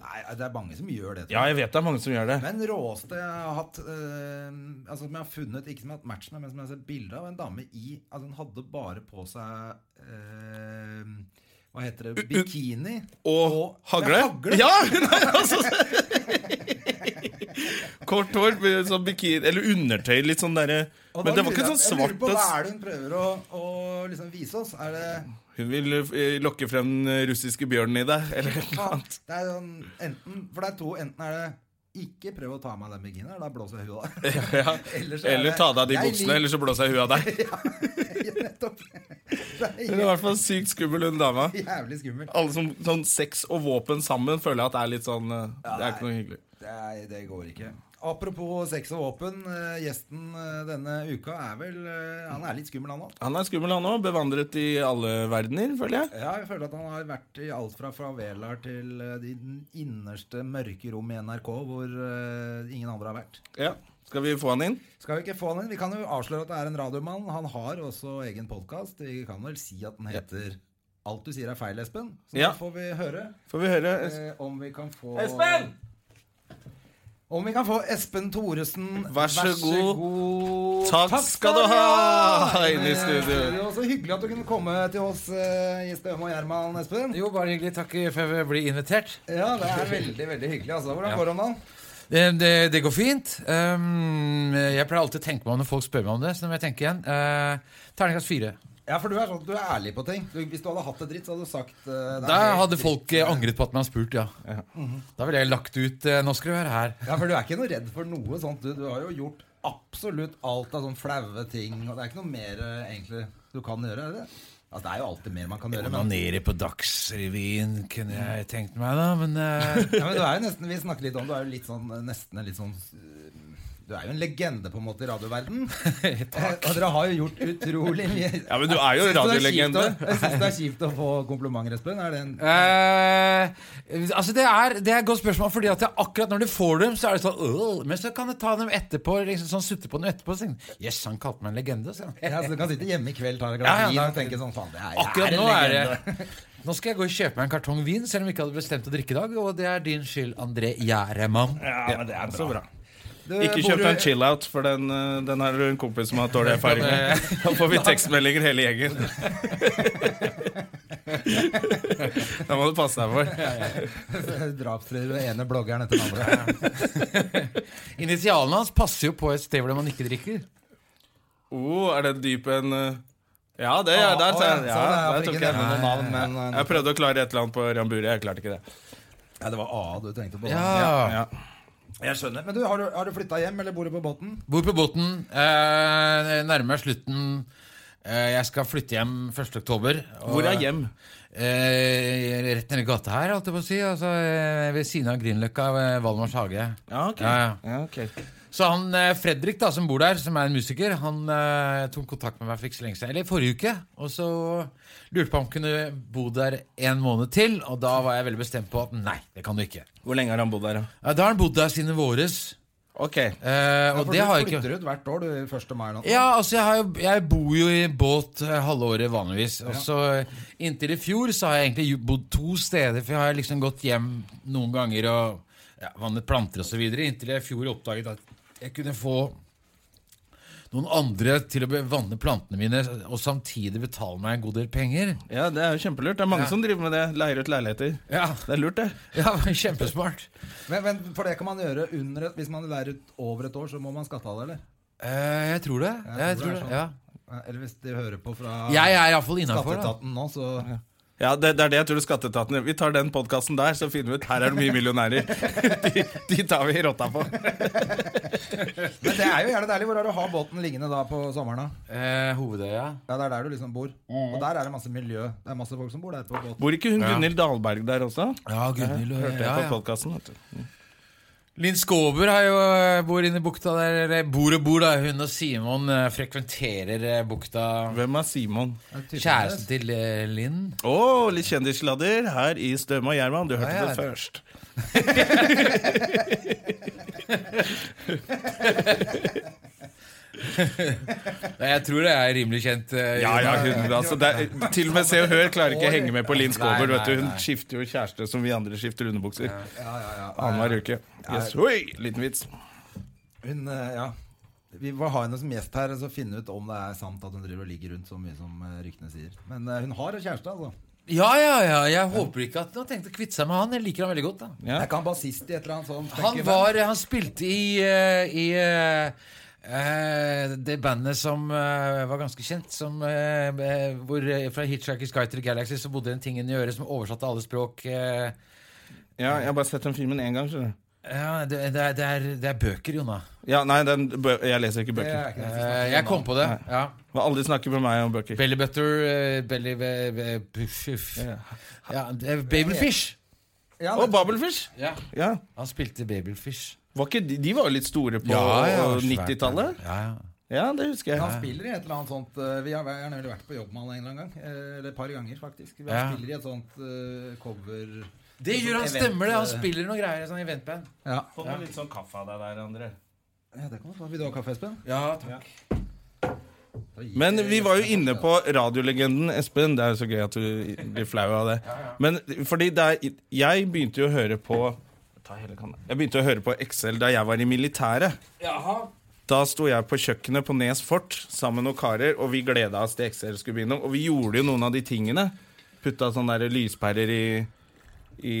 Speaker 2: Nei, det er mange som gjør det. tror jeg.
Speaker 1: Ja, jeg vet det er mange som gjør det.
Speaker 2: Men råeste jeg har hatt eh, Altså som jeg har funnet, ikke som jeg har hatt match med, men som jeg har sett bilde av, en dame i Altså hun hadde bare på seg eh, Hva heter det? Bikini.
Speaker 1: Og
Speaker 2: Og-
Speaker 1: hagle?
Speaker 2: Ja, hagle.
Speaker 1: Ja! Nei, altså. Kort hår, sånn bikini Eller undertøy, litt sånn derre
Speaker 2: Og
Speaker 1: Men
Speaker 2: da
Speaker 1: det var
Speaker 2: lurer
Speaker 1: ikke sånn
Speaker 2: jeg- Jeg lurer
Speaker 1: svart
Speaker 2: på
Speaker 1: og
Speaker 2: hva er det hun prøver å, å liksom vise oss? Er det
Speaker 1: Hun vil eh, lokke frem den russiske bjørnen i deg, eller et eller annet.
Speaker 2: Det er sånn enten For det er to. Enten er det ikke prøv å ta av meg den bikinien, da blåser jeg huet av deg.
Speaker 1: Ja.
Speaker 2: Eller så er
Speaker 1: Eller
Speaker 2: det-
Speaker 1: ta deg av de
Speaker 2: Jeg
Speaker 1: buksene,
Speaker 2: lik-
Speaker 1: eller så blåser jeg huet av deg.
Speaker 2: Nettopp. Det
Speaker 1: Hun
Speaker 2: er
Speaker 1: er i hvert fall sykt skummel, hun dama.
Speaker 2: jævlig skummelt.
Speaker 1: Alle som sånn Sex og våpen sammen føler jeg at det er litt sånn eh, Det er
Speaker 2: nei.
Speaker 1: ikke noe hyggelig.
Speaker 2: Nei, det går ikke. Apropos sex og våpen. eh, Gjesten eh, denne uka er vel eh, Han er litt skummel, han òg.
Speaker 1: Han er skummel, han òg. Bevandret i alle verdener, føler jeg.
Speaker 2: Ja, jeg føler at han har vært i alt fra favelaer til eh, de innerste mørke rom i NRK hvor eh, ingen andre har vært.
Speaker 1: Ja. Skal vi få han inn?
Speaker 2: Skal vi ikke få han inn? Vi kan jo avsløre at det er en radiomann. Han har også egen podkast. Vi kan vel si at den heter Alt du sier er feil, Espen. Så
Speaker 1: Ja.
Speaker 2: da får vi høre
Speaker 1: Får vi høre?
Speaker 2: eh, om vi kan få Om vi kan få Espen Thoresen
Speaker 1: Vær så god.
Speaker 2: god.
Speaker 1: Takk skal du ha inn i studio.
Speaker 2: Eh, Det var så hyggelig at du kunne komme til oss eh, i Støme og Gjerman, Espen.
Speaker 3: Jo, bare hyggelig. Takk for at jeg blir invitert.
Speaker 2: Ja, det er veldig veldig hyggelig. altså. Hvordan
Speaker 3: Ja.
Speaker 2: går det om dagen?
Speaker 3: Det, det, det går fint. Ehm, jeg pleier alltid å tenke meg om når folk spør meg om det. Så nå må jeg tenke igjen. Eh, terningkast fire.
Speaker 2: Ja, for du er sånn at du er ærlig på ting. Du, hvis du hadde hatt det dritt, så hadde du sagt uh,
Speaker 3: Da hadde folk eh, angret på at man har spurt, ja. Da ville jeg lagt ut eh, Nå skal du være her.
Speaker 2: Ja, for du er ikke noe redd for noe sånt. Du, du har jo gjort absolutt alt av sånn flaue ting. Og det er ikke noe mer eh, egentlig du kan gjøre, er det? Altså, det er jo alltid mer man kan gjøre. Men,
Speaker 3: Onanere på Dagsrevyen kunne jeg tenkt meg, da, men eh,
Speaker 2: ja, men du er jo nesten, vi snakker litt om du er jo litt sånn, eh, nesten en litt sånn eh, Du er jo en legende, på en måte, i radioverden Eh, Og dere har jo gjort utrolig mye.
Speaker 1: Ja, men du er jo
Speaker 2: Jeg synes det kjipt
Speaker 1: radiolegende.
Speaker 2: å- Jeg syns det er kjipt å få komplimenter, Espen. Er det en
Speaker 3: eh, altså det, er, det er et godt spørsmål, Fordi at jeg, akkurat når du får dem, så er det sånn «Åh», Men så kan du ta dem etterpå. Liksom, sånn Sutte på dem etterpå. Så tenker, du, yes, han kalte meg en legende. Så.
Speaker 2: ja, så Du kan sitte hjemme i kveld, ta deg et glass
Speaker 3: Ja, ja,
Speaker 2: vin
Speaker 3: da-
Speaker 2: og tenke sånn Faen, det er, jeg
Speaker 3: Akkurat
Speaker 2: er en
Speaker 3: nå er
Speaker 2: legende.
Speaker 3: det Nå skal jeg gå og kjøpe meg en kartong vin, selv om vi ikke hadde bestemt å drikke i dag. Og det er din skyld, André Gjerdemann.
Speaker 1: Ja, men det er bra.
Speaker 2: Du,
Speaker 1: Ikke
Speaker 2: bor
Speaker 1: kjøp
Speaker 2: du-
Speaker 1: deg en chill-out, for den, eh, den har du en kompis som har dårlig erfaring med. Da får vi tekstmeldinger hele gjengen. Da må du passe deg for.
Speaker 2: Drapstrøyer og ene bloggeren etter den andre.
Speaker 3: Initialene hans passer jo på et sted hvor man ikke drikker.
Speaker 1: Oh, er det dyp en eh, Ja, det er der.
Speaker 2: Å,
Speaker 1: sa
Speaker 2: ja,
Speaker 1: jeg.
Speaker 2: sånn,
Speaker 1: Ah, Ja,
Speaker 2: ja,
Speaker 1: der
Speaker 2: for
Speaker 1: tok
Speaker 2: ikke
Speaker 1: jeg
Speaker 2: nevne noen
Speaker 1: den.
Speaker 2: navn, men eh,
Speaker 1: Jeg prøvde å klare et eller annet på Rambure, jeg klarte ikke det.
Speaker 2: Ja, det var A du trengte på.
Speaker 1: Ja.
Speaker 2: Jeg skjønner. Men du, har du, har du flytta hjem, eller bor du på båten?
Speaker 3: Bor på båten. Eh, nærmer meg slutten. Eh, jeg skal flytte hjem 1. oktober. og-
Speaker 1: Hvor er hjem?
Speaker 3: Eh, rett nedi gata her, holdt jeg på å si. Altså, eh, ved siden av Grünerløkka, ved Valdemars hage.
Speaker 1: Ja, ok.
Speaker 3: Ja, ja.
Speaker 1: Ja, ok.
Speaker 3: Så han eh, Fredrik, da, som bor der, som er en musiker, han eh, tok kontakt med meg for ikke så lenge siden, eller forrige uke. Og så lurte på om han kunne bo der en måned til, og da var jeg veldig bestemt på at nei, det kan du ikke.
Speaker 1: Hvor lenge har han bodd der, da?
Speaker 3: Ja, da har han bodd der siden i våres.
Speaker 1: Ok.
Speaker 3: Eh, og
Speaker 2: For du
Speaker 3: det har jeg ikke
Speaker 2: flytter ut hvert år, du, 1. mai. eller noe.
Speaker 3: Ja, altså jeg, har jo, jeg bor jo i båt eh, halve året vanligvis. Og så eh, Inntil i fjor så har jeg egentlig jo- bodd to steder, for jeg har liksom gått hjem noen ganger og ja, vannet planter osv. Inntil jeg i fjor oppdaget at jeg kunne få noen andre til å be- vanne plantene mine og samtidig betale meg en god del penger.
Speaker 1: Ja, det er jo kjempelurt. Det er mange som driver med det. Leier ut leiligheter.
Speaker 3: Ja,
Speaker 1: Det er lurt, det.
Speaker 3: ja Kjempesmart.
Speaker 2: Men, men for det kan man gjøre under et, Hvis man lærer ut over et år, så må man skatte av det, eller?
Speaker 3: Eh, jeg tror det. Jeg, tror det,
Speaker 2: er sånn.
Speaker 3: ja.
Speaker 2: Eh, Eller hvis de hører på fra
Speaker 3: jeg er iallfall innafor.
Speaker 2: Skatteetaten nå, så
Speaker 1: Ja, det, det er det jeg tror skatteetaten gjør. Vi tar den podkasten der, så finner vi ut her er det mye millionærer. De, de tar vi rotta på.
Speaker 2: Men det er jo gjerne deilig. Hvor er det å ha båten liggende da på sommeren? da?
Speaker 3: Eh, Hovedøya.
Speaker 2: Ja, Det er der du liksom bor. Og der er det masse miljø. Det er masse folk som bor der på båten.
Speaker 1: Bor ikke hun Gunhild Dahlberg der også?
Speaker 3: Ja, Gunhild.
Speaker 1: Hørte jeg
Speaker 3: ja,
Speaker 1: på
Speaker 3: ja.
Speaker 1: podcasten, vet du.
Speaker 3: Linn Skåber har jo, eh, bor inne i bukta der, eller bor og bor, da. Hun og Simon eh, frekventerer eh, bukta.
Speaker 1: Hvem er Simon?
Speaker 2: Det er typen
Speaker 3: Kjæresten
Speaker 2: deres.
Speaker 3: til eh, Linn.
Speaker 1: Å, litt kjendissladder her i Støme og Gjerman. Du hørte
Speaker 3: Ja, ja.
Speaker 1: det først.
Speaker 3: Nei, Jeg tror det er rimelig kjent. eh,
Speaker 1: Ja, ja, hun, altså, det er, Til og med Se og Hør klarer ikke å henge med på Linn Skåber.
Speaker 3: Nei,
Speaker 1: vet du.
Speaker 3: nei,
Speaker 1: Hun
Speaker 3: nei.
Speaker 1: skifter jo kjæreste som vi andre skifter underbukser.
Speaker 2: Ja, ja, ja.
Speaker 1: Annenhver uke. Yes. Oi, liten vits.
Speaker 2: Hun, eh, ja Vi må ha henne som gjest her og finne ut om det er sant at hun driver og ligger rundt så mye som eh, ryktene sier. Men eh, hun har en kjæreste, altså.
Speaker 3: ja, ja, ja. Jeg håper ikke at Nå tenkte jeg å kvitte seg med han. Jeg liker han veldig godt. da
Speaker 1: Ja.
Speaker 2: Er ikke han bassist i et eller annet sånt?
Speaker 3: Han
Speaker 2: tenker jeg.
Speaker 3: var, han spilte i, eh, i eh, eh, det bandet som eh, var ganske kjent, som, eh, eh, hvor, eh, fra Hitchhiker's Guide to the Galaxy så bodde det en ting inni øret som oversatte alle språk. eh,
Speaker 1: Ja, jeg har bare sett den filmen én gang. skjønner du.
Speaker 3: ja, det, det, er, det, er, det er bøker, Jonna.
Speaker 1: Ja, nei, den, bø- Jeg leser ikke
Speaker 2: Det
Speaker 1: bøker.
Speaker 2: er ikke det siste.
Speaker 3: Eh, jeg kom på det. Ja.
Speaker 1: Må aldri snakke med meg om bøker.
Speaker 3: Belly butter, eh, belly ve- ve- puff, puff. ja, eh, Babelfish.
Speaker 2: Ja,
Speaker 1: Og Babelfish! Ja.
Speaker 3: Han spilte Babelfish.
Speaker 1: Var ikke, de de var jo litt store på
Speaker 3: svært.
Speaker 1: 90-tallet.
Speaker 3: Ja, ja.
Speaker 1: Ja, det husker
Speaker 2: Han
Speaker 1: jeg.
Speaker 2: spiller i et eller annet sånt eh, Vi har gjerne vel vært på jobb med han en eller annen gang. eh, Eller et par ganger, faktisk. Vi
Speaker 3: Ja.
Speaker 2: spiller i et sånt eh, cover
Speaker 3: Det
Speaker 2: et
Speaker 3: gjør han,
Speaker 2: sånt
Speaker 3: stemmer det.
Speaker 2: event,
Speaker 3: Han
Speaker 2: eh,
Speaker 3: spiller noen greier i sånn eventband.
Speaker 2: Ja.
Speaker 1: Få meg litt sånn kaffe av deg der, André.
Speaker 2: ja, det kan du få. Vil du ha kaffe, Espen?
Speaker 3: Ja, takk.
Speaker 2: Da gir
Speaker 1: Men
Speaker 2: jeg
Speaker 1: vi
Speaker 2: Espen
Speaker 1: var jo
Speaker 2: kaffe.
Speaker 1: inne på radiolegenden Espen. Det er jo så gøy at du blir flau av det. Men fordi det er Jeg begynte jo å høre på Ta hele kanna. Jeg begynte å høre på Excel da jeg var i militæret.
Speaker 3: Jaha.
Speaker 1: Da sto jeg på kjøkkenet på Nes fort sammen med noen karer, og vi gleda oss til Excel skulle begynne. Og vi gjorde jo noen av de tingene. Putta sånne der lyspærer i, i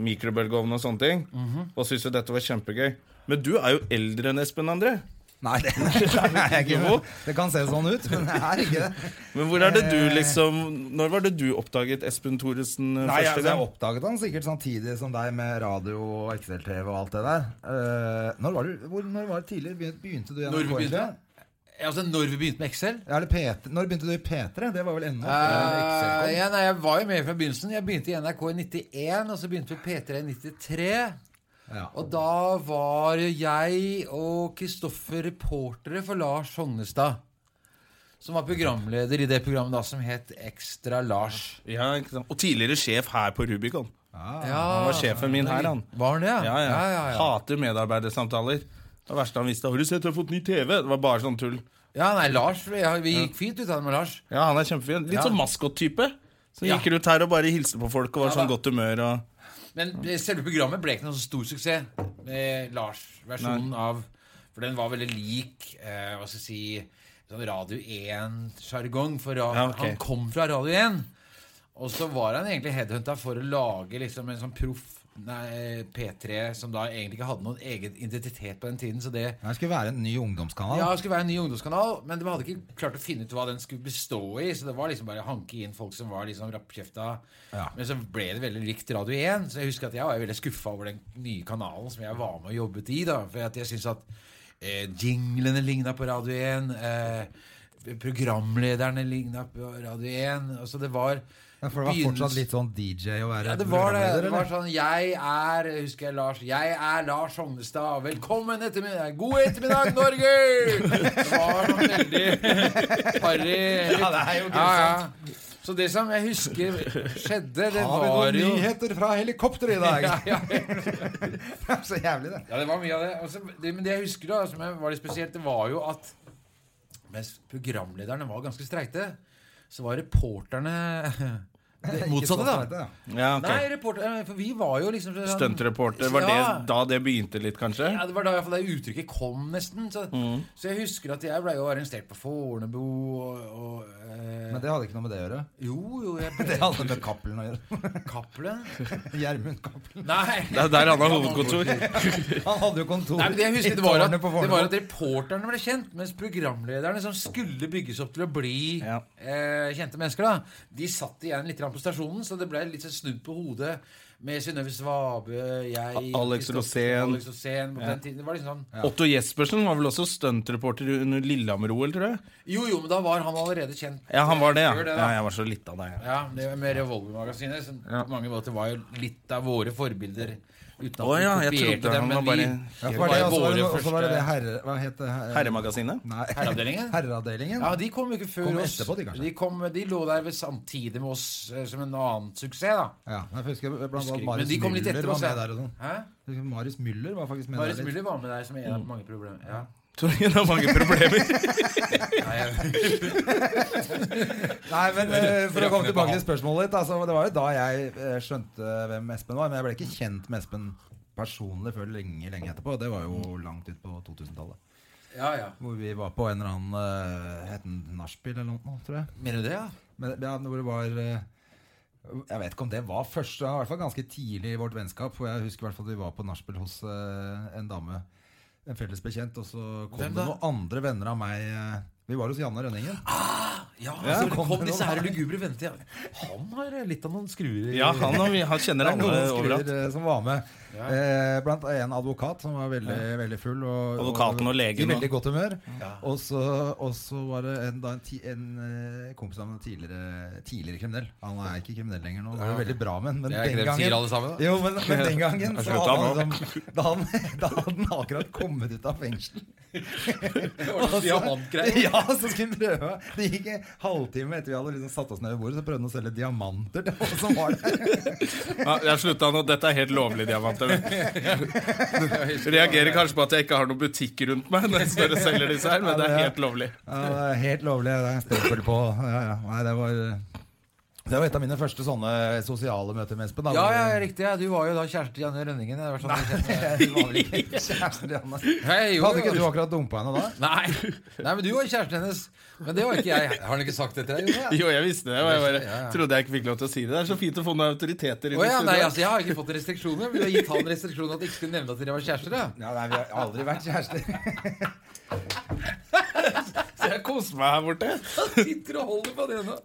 Speaker 1: mikrobølgeovnen og sånne ting. Og syntes jo dette var kjempegøy. Men du er jo eldre enn Espen André.
Speaker 2: Nei, det, det er jeg ikke.
Speaker 1: Jo.
Speaker 2: Det kan se sånn ut, men det er ikke det.
Speaker 1: Men hvor er det du liksom Når var det du oppdaget Espen Thoresen eh,
Speaker 2: Nei, jeg,
Speaker 1: første
Speaker 2: altså, jeg
Speaker 1: gang?
Speaker 2: oppdaget han sikkert samtidig som deg med radio og XL-TV og alt det der. Eh, når var du, hvor, når var det tidlig? Begynte, begynte du
Speaker 3: Når vi
Speaker 2: NRK? egentlig?
Speaker 3: Altså, når vi begynte med Excel?
Speaker 2: Ja, eller P3. Når begynte du i P3? Det var vel ennå?
Speaker 3: Eh, ja, nei, jeg var jo med fra begynnelsen. Jeg begynte i NRK i 91, og så begynte vi i P3 i 93.
Speaker 2: Ja.
Speaker 3: Og da var jeg og Kristoffer reportere for Lars Honnestad. Som var programleder i det programmet da som het Ekstra Lars.
Speaker 1: Ja, ikke sant? Og tidligere sjef her på Rubicon.
Speaker 3: Ja,
Speaker 1: Han var sjefen min her, han.
Speaker 3: Var han det?
Speaker 1: Ah, Ja, ja.
Speaker 3: ja, ja, ja.
Speaker 1: Hater medarbeidersamtaler. Det verste han visste. 'Har du sett, jeg har fått ny TV?' Det var bare sånn tull.
Speaker 3: Ja, nei, Lars, ja, Vi gikk fint ut av det med Lars.
Speaker 1: Ja, han er kjempefin. Litt
Speaker 3: Ja.
Speaker 1: sånn maskottype. Så
Speaker 3: Ja.
Speaker 1: gikk rundt her og bare hilste på folk og var
Speaker 3: Ja,
Speaker 1: sånn
Speaker 3: da.
Speaker 1: godt humør og
Speaker 3: Men selve programmet ble ikke noen så stor suksess. Eh, Lars-versjonen av For den var veldig lik eh, hva skal jeg si sånn Radio 1-sjargong. For ra
Speaker 1: Ja, ok.
Speaker 3: han kom fra Radio 1. Og så var han egentlig headhunta for å lage liksom en sånn proff nei, P3 som da egentlig ikke hadde noen egen identitet på den tiden. Så det
Speaker 2: Det skulle være en ny ungdomskanal.
Speaker 3: ja, det skulle være en ny ungdomskanal, men de hadde ikke klart å finne ut hva den skulle bestå i. Så det var liksom bare å hanke inn folk som var liksom rappkjefta.
Speaker 2: Ja.
Speaker 3: Men så ble det veldig likt Radio 1. Så jeg husker at jeg var veldig skuffa over den nye kanalen som jeg var med og jobbet i. da For at jeg syntes at eh, jinglene ligna på Radio 1. Eh, programlederne ligna på Radio 1. Og så det var
Speaker 2: Ja, for det var
Speaker 3: begynnelsen-
Speaker 2: fortsatt litt sånn DJ å være
Speaker 3: ja, det var det.
Speaker 2: programleder,
Speaker 3: Det var
Speaker 2: eller?
Speaker 3: sånn Jeg er Husker jeg Lars Jeg er Lars Hognestad. Velkommen ettermiddag. God ettermiddag, Norge! Det var noe veldig harry
Speaker 2: Ja, det er jo grusomt.
Speaker 3: ja. Så det som jeg husker skjedde, det
Speaker 2: Har vi noen
Speaker 3: var jo
Speaker 2: nyheter fra helikopteret i dag?
Speaker 3: ja, ja.
Speaker 2: Det er så jævlig, det.
Speaker 3: Ja, det var mye av det. Og så- det. Men det jeg husker da, som jeg- var litt spesielt, det var jo at mens programlederne var ganske streite, så var reporterne det
Speaker 2: Ikke sånn så
Speaker 3: motsatte, da.
Speaker 2: streit, ja.
Speaker 1: Ja, ok.
Speaker 3: Nei, reporter, eh, for vi var jo liksom sånn-
Speaker 1: Stuntreporter. Var
Speaker 3: Ja.
Speaker 1: det da det begynte litt, kanskje? Mm.
Speaker 3: Ja, det var da i hvert fall det uttrykket kom, nesten. Så, så jeg husker at jeg blei jo arrestert på Fornebu og, og eh,
Speaker 2: Men det hadde ikke noe med det å gjøre.
Speaker 3: Jo, jo, jeg ble
Speaker 2: Det hadde med Cappelen å gjøre.
Speaker 3: Cappelen.
Speaker 2: Gjermund Cappelen.
Speaker 3: Nei.
Speaker 1: Det er der han har hovedkontor.
Speaker 2: Han hadde jo kontor
Speaker 3: Nei, men det jeg
Speaker 2: i
Speaker 3: husker det var, at,
Speaker 2: tårnet på
Speaker 3: det var
Speaker 2: Fornebu.
Speaker 3: at reporterne ble kjent, mens programlederne som skulle bygges opp til å bli
Speaker 1: Ja.
Speaker 3: eh, kjente mennesker, da, de satt igjen litt grann på stasjonen, så det ble litt sånn snudd på hodet med Synnøve Svabe, jeg
Speaker 1: A- Alex
Speaker 3: Kristoffer-
Speaker 1: Rosén.
Speaker 3: Alex Rosén på den tiden. Det var liksom sånn
Speaker 1: Otto Jespersen var vel også stuntreporter under Lillehammer-OL, tror jeg.
Speaker 3: Jo, jo, men da var han allerede kjent.
Speaker 1: Ja, han var det, ja.
Speaker 3: før da.
Speaker 1: ja jeg var så liten av deg. Ja.
Speaker 3: Ja, det var med Revolver-magasinet som
Speaker 1: Ja.
Speaker 3: på mange måter var jo litt av våre forbilder. Uten at
Speaker 1: Å ja,
Speaker 3: vi
Speaker 1: jeg
Speaker 3: kopierte
Speaker 1: trodde
Speaker 3: dem,
Speaker 1: han
Speaker 3: men
Speaker 1: var bare-
Speaker 3: vi
Speaker 2: Ja,
Speaker 3: det
Speaker 2: for
Speaker 3: altså,
Speaker 2: det, altså,
Speaker 3: var
Speaker 2: og så var
Speaker 3: våre
Speaker 2: det, og så var det det
Speaker 3: første
Speaker 2: herre... Hva het det? Her-
Speaker 1: Herremagasinet.
Speaker 2: Nei.
Speaker 3: Herreavdelingen?
Speaker 2: Herreavdelingen.
Speaker 3: Ja, de kom jo ikke før
Speaker 2: Kom
Speaker 3: oss.
Speaker 2: etterpå, de, kanskje?
Speaker 3: kom, de lå der ved samtidig med oss eh, som en annen suksess, da.
Speaker 2: Ja, jeg husker blant
Speaker 3: Husker
Speaker 2: annet
Speaker 3: ikke, men
Speaker 2: Marius
Speaker 3: de kom litt
Speaker 2: Müller
Speaker 3: etter
Speaker 2: var
Speaker 3: oss.
Speaker 2: med
Speaker 3: ja.
Speaker 2: der og sånn.
Speaker 3: Hæ?
Speaker 2: Jeg husker Marius Müller var faktisk med
Speaker 3: Marius
Speaker 2: der litt.
Speaker 3: Müller var med der som en av mange problemer. Ja.
Speaker 1: Tror jeg det er mange problemer.
Speaker 3: Nei, jeg,
Speaker 2: Nei, men eh, for å komme
Speaker 3: Rakner på
Speaker 2: tilbake
Speaker 3: han.
Speaker 2: til spørsmålet ditt altså, Det var jo da jeg eh, skjønte hvem Espen var Men jeg ble ikke kjent med Espen personlig Før lenge, lenge etterpå Det var jo langt ut på 2000-tallet
Speaker 3: ja, ja.
Speaker 2: Hvor vi var på en eller annen eh, Het den Nachspiel eller noe, tror jeg
Speaker 3: Mener du det, ja?
Speaker 2: Men ja, hvor det var eh, Jeg vet ikke om det var første I hvert fall ganske tidlig i vårt vennskap For jeg husker i hvert fall at vi var på Nachspiel hos eh, en dame En felles bekjent Og så kom
Speaker 3: Hvem
Speaker 2: det
Speaker 3: da?
Speaker 2: noen andre venner av meg eh, Vi var hos Janne Rønningen
Speaker 3: Ja,
Speaker 2: Ja,
Speaker 3: så
Speaker 2: kom
Speaker 3: kom
Speaker 2: det
Speaker 3: disse
Speaker 2: noen
Speaker 3: her
Speaker 2: her?
Speaker 3: lugubre vennene til ja. Han har eh, litt av noen skruer i
Speaker 1: Ja, han, og vi- han kjenner
Speaker 2: Det er
Speaker 1: alle
Speaker 2: noen
Speaker 1: overalt.
Speaker 2: skriver eh, som var med. Eh, blant en advokat som var veldig, veldig full. Og,
Speaker 1: Advokaten og legen og-
Speaker 2: I veldig godt humør.
Speaker 3: Ja.
Speaker 2: Og så og så var det en, da en, ti, en eh, kompis av meg, tidligere, tidligere kriminell. Han er ikke kriminell lenger nå. Han er veldig bra, men, men
Speaker 3: Det er ikke
Speaker 2: den
Speaker 3: det de sier
Speaker 2: gangen
Speaker 3: alle sammen, da.
Speaker 2: jo, men, men den gangen så
Speaker 1: slutta
Speaker 2: hadde han, liksom, da, han, da hadde han akkurat kommet ut av fengsel.
Speaker 3: Diamantgreier.
Speaker 2: Ja, så skulle han prøve. Det gikk en halvtime etter vi hadde liksom satt oss ned ved bordet, så prøvde han å selge diamanter til alle som var der.
Speaker 1: Ja, jeg slutta nå. Dette er helt lovlig, diamanter. Reagerer kanskje på at jeg ikke har noen butikk rundt meg når jeg står og selger disse her, men det er helt lovlig.
Speaker 2: Ja, det er helt lovlig. Det er stempel på. Ja, ja. Nei, det var Det var et av mine første sånne sosiale møter med Espen. da.
Speaker 3: Ja, ja, riktig. Ja. Du var jo da kjæreste til Janne Rønningen. Det var sånn vi kjente.
Speaker 2: Det var vel ikke kjæresten til Janne.
Speaker 3: Hei, jo,
Speaker 2: Hadde ikke du
Speaker 3: jo.
Speaker 2: akkurat dumpa henne da?
Speaker 3: Nei. Nei, men du var kjæresten hennes. Men det var ikke jeg. Har han ikke sagt det til deg? Jonas?
Speaker 1: Jo, jeg visste det. Og jeg bare trodde jeg ikke fikk lov til å si det. Det er så fint å få noen autoriteter inn
Speaker 3: Å
Speaker 1: i
Speaker 3: ja, nei,
Speaker 1: studio.
Speaker 3: altså, jeg har ikke fått restriksjoner. Men du har gitt han restriksjoner at jeg ikke skulle nevne at dere var kjærester. Ja.
Speaker 2: Ja, nei, Vi har aldri vært kjærester.
Speaker 1: Så jeg koser meg her borte.
Speaker 3: Han sitter og holder på det nå.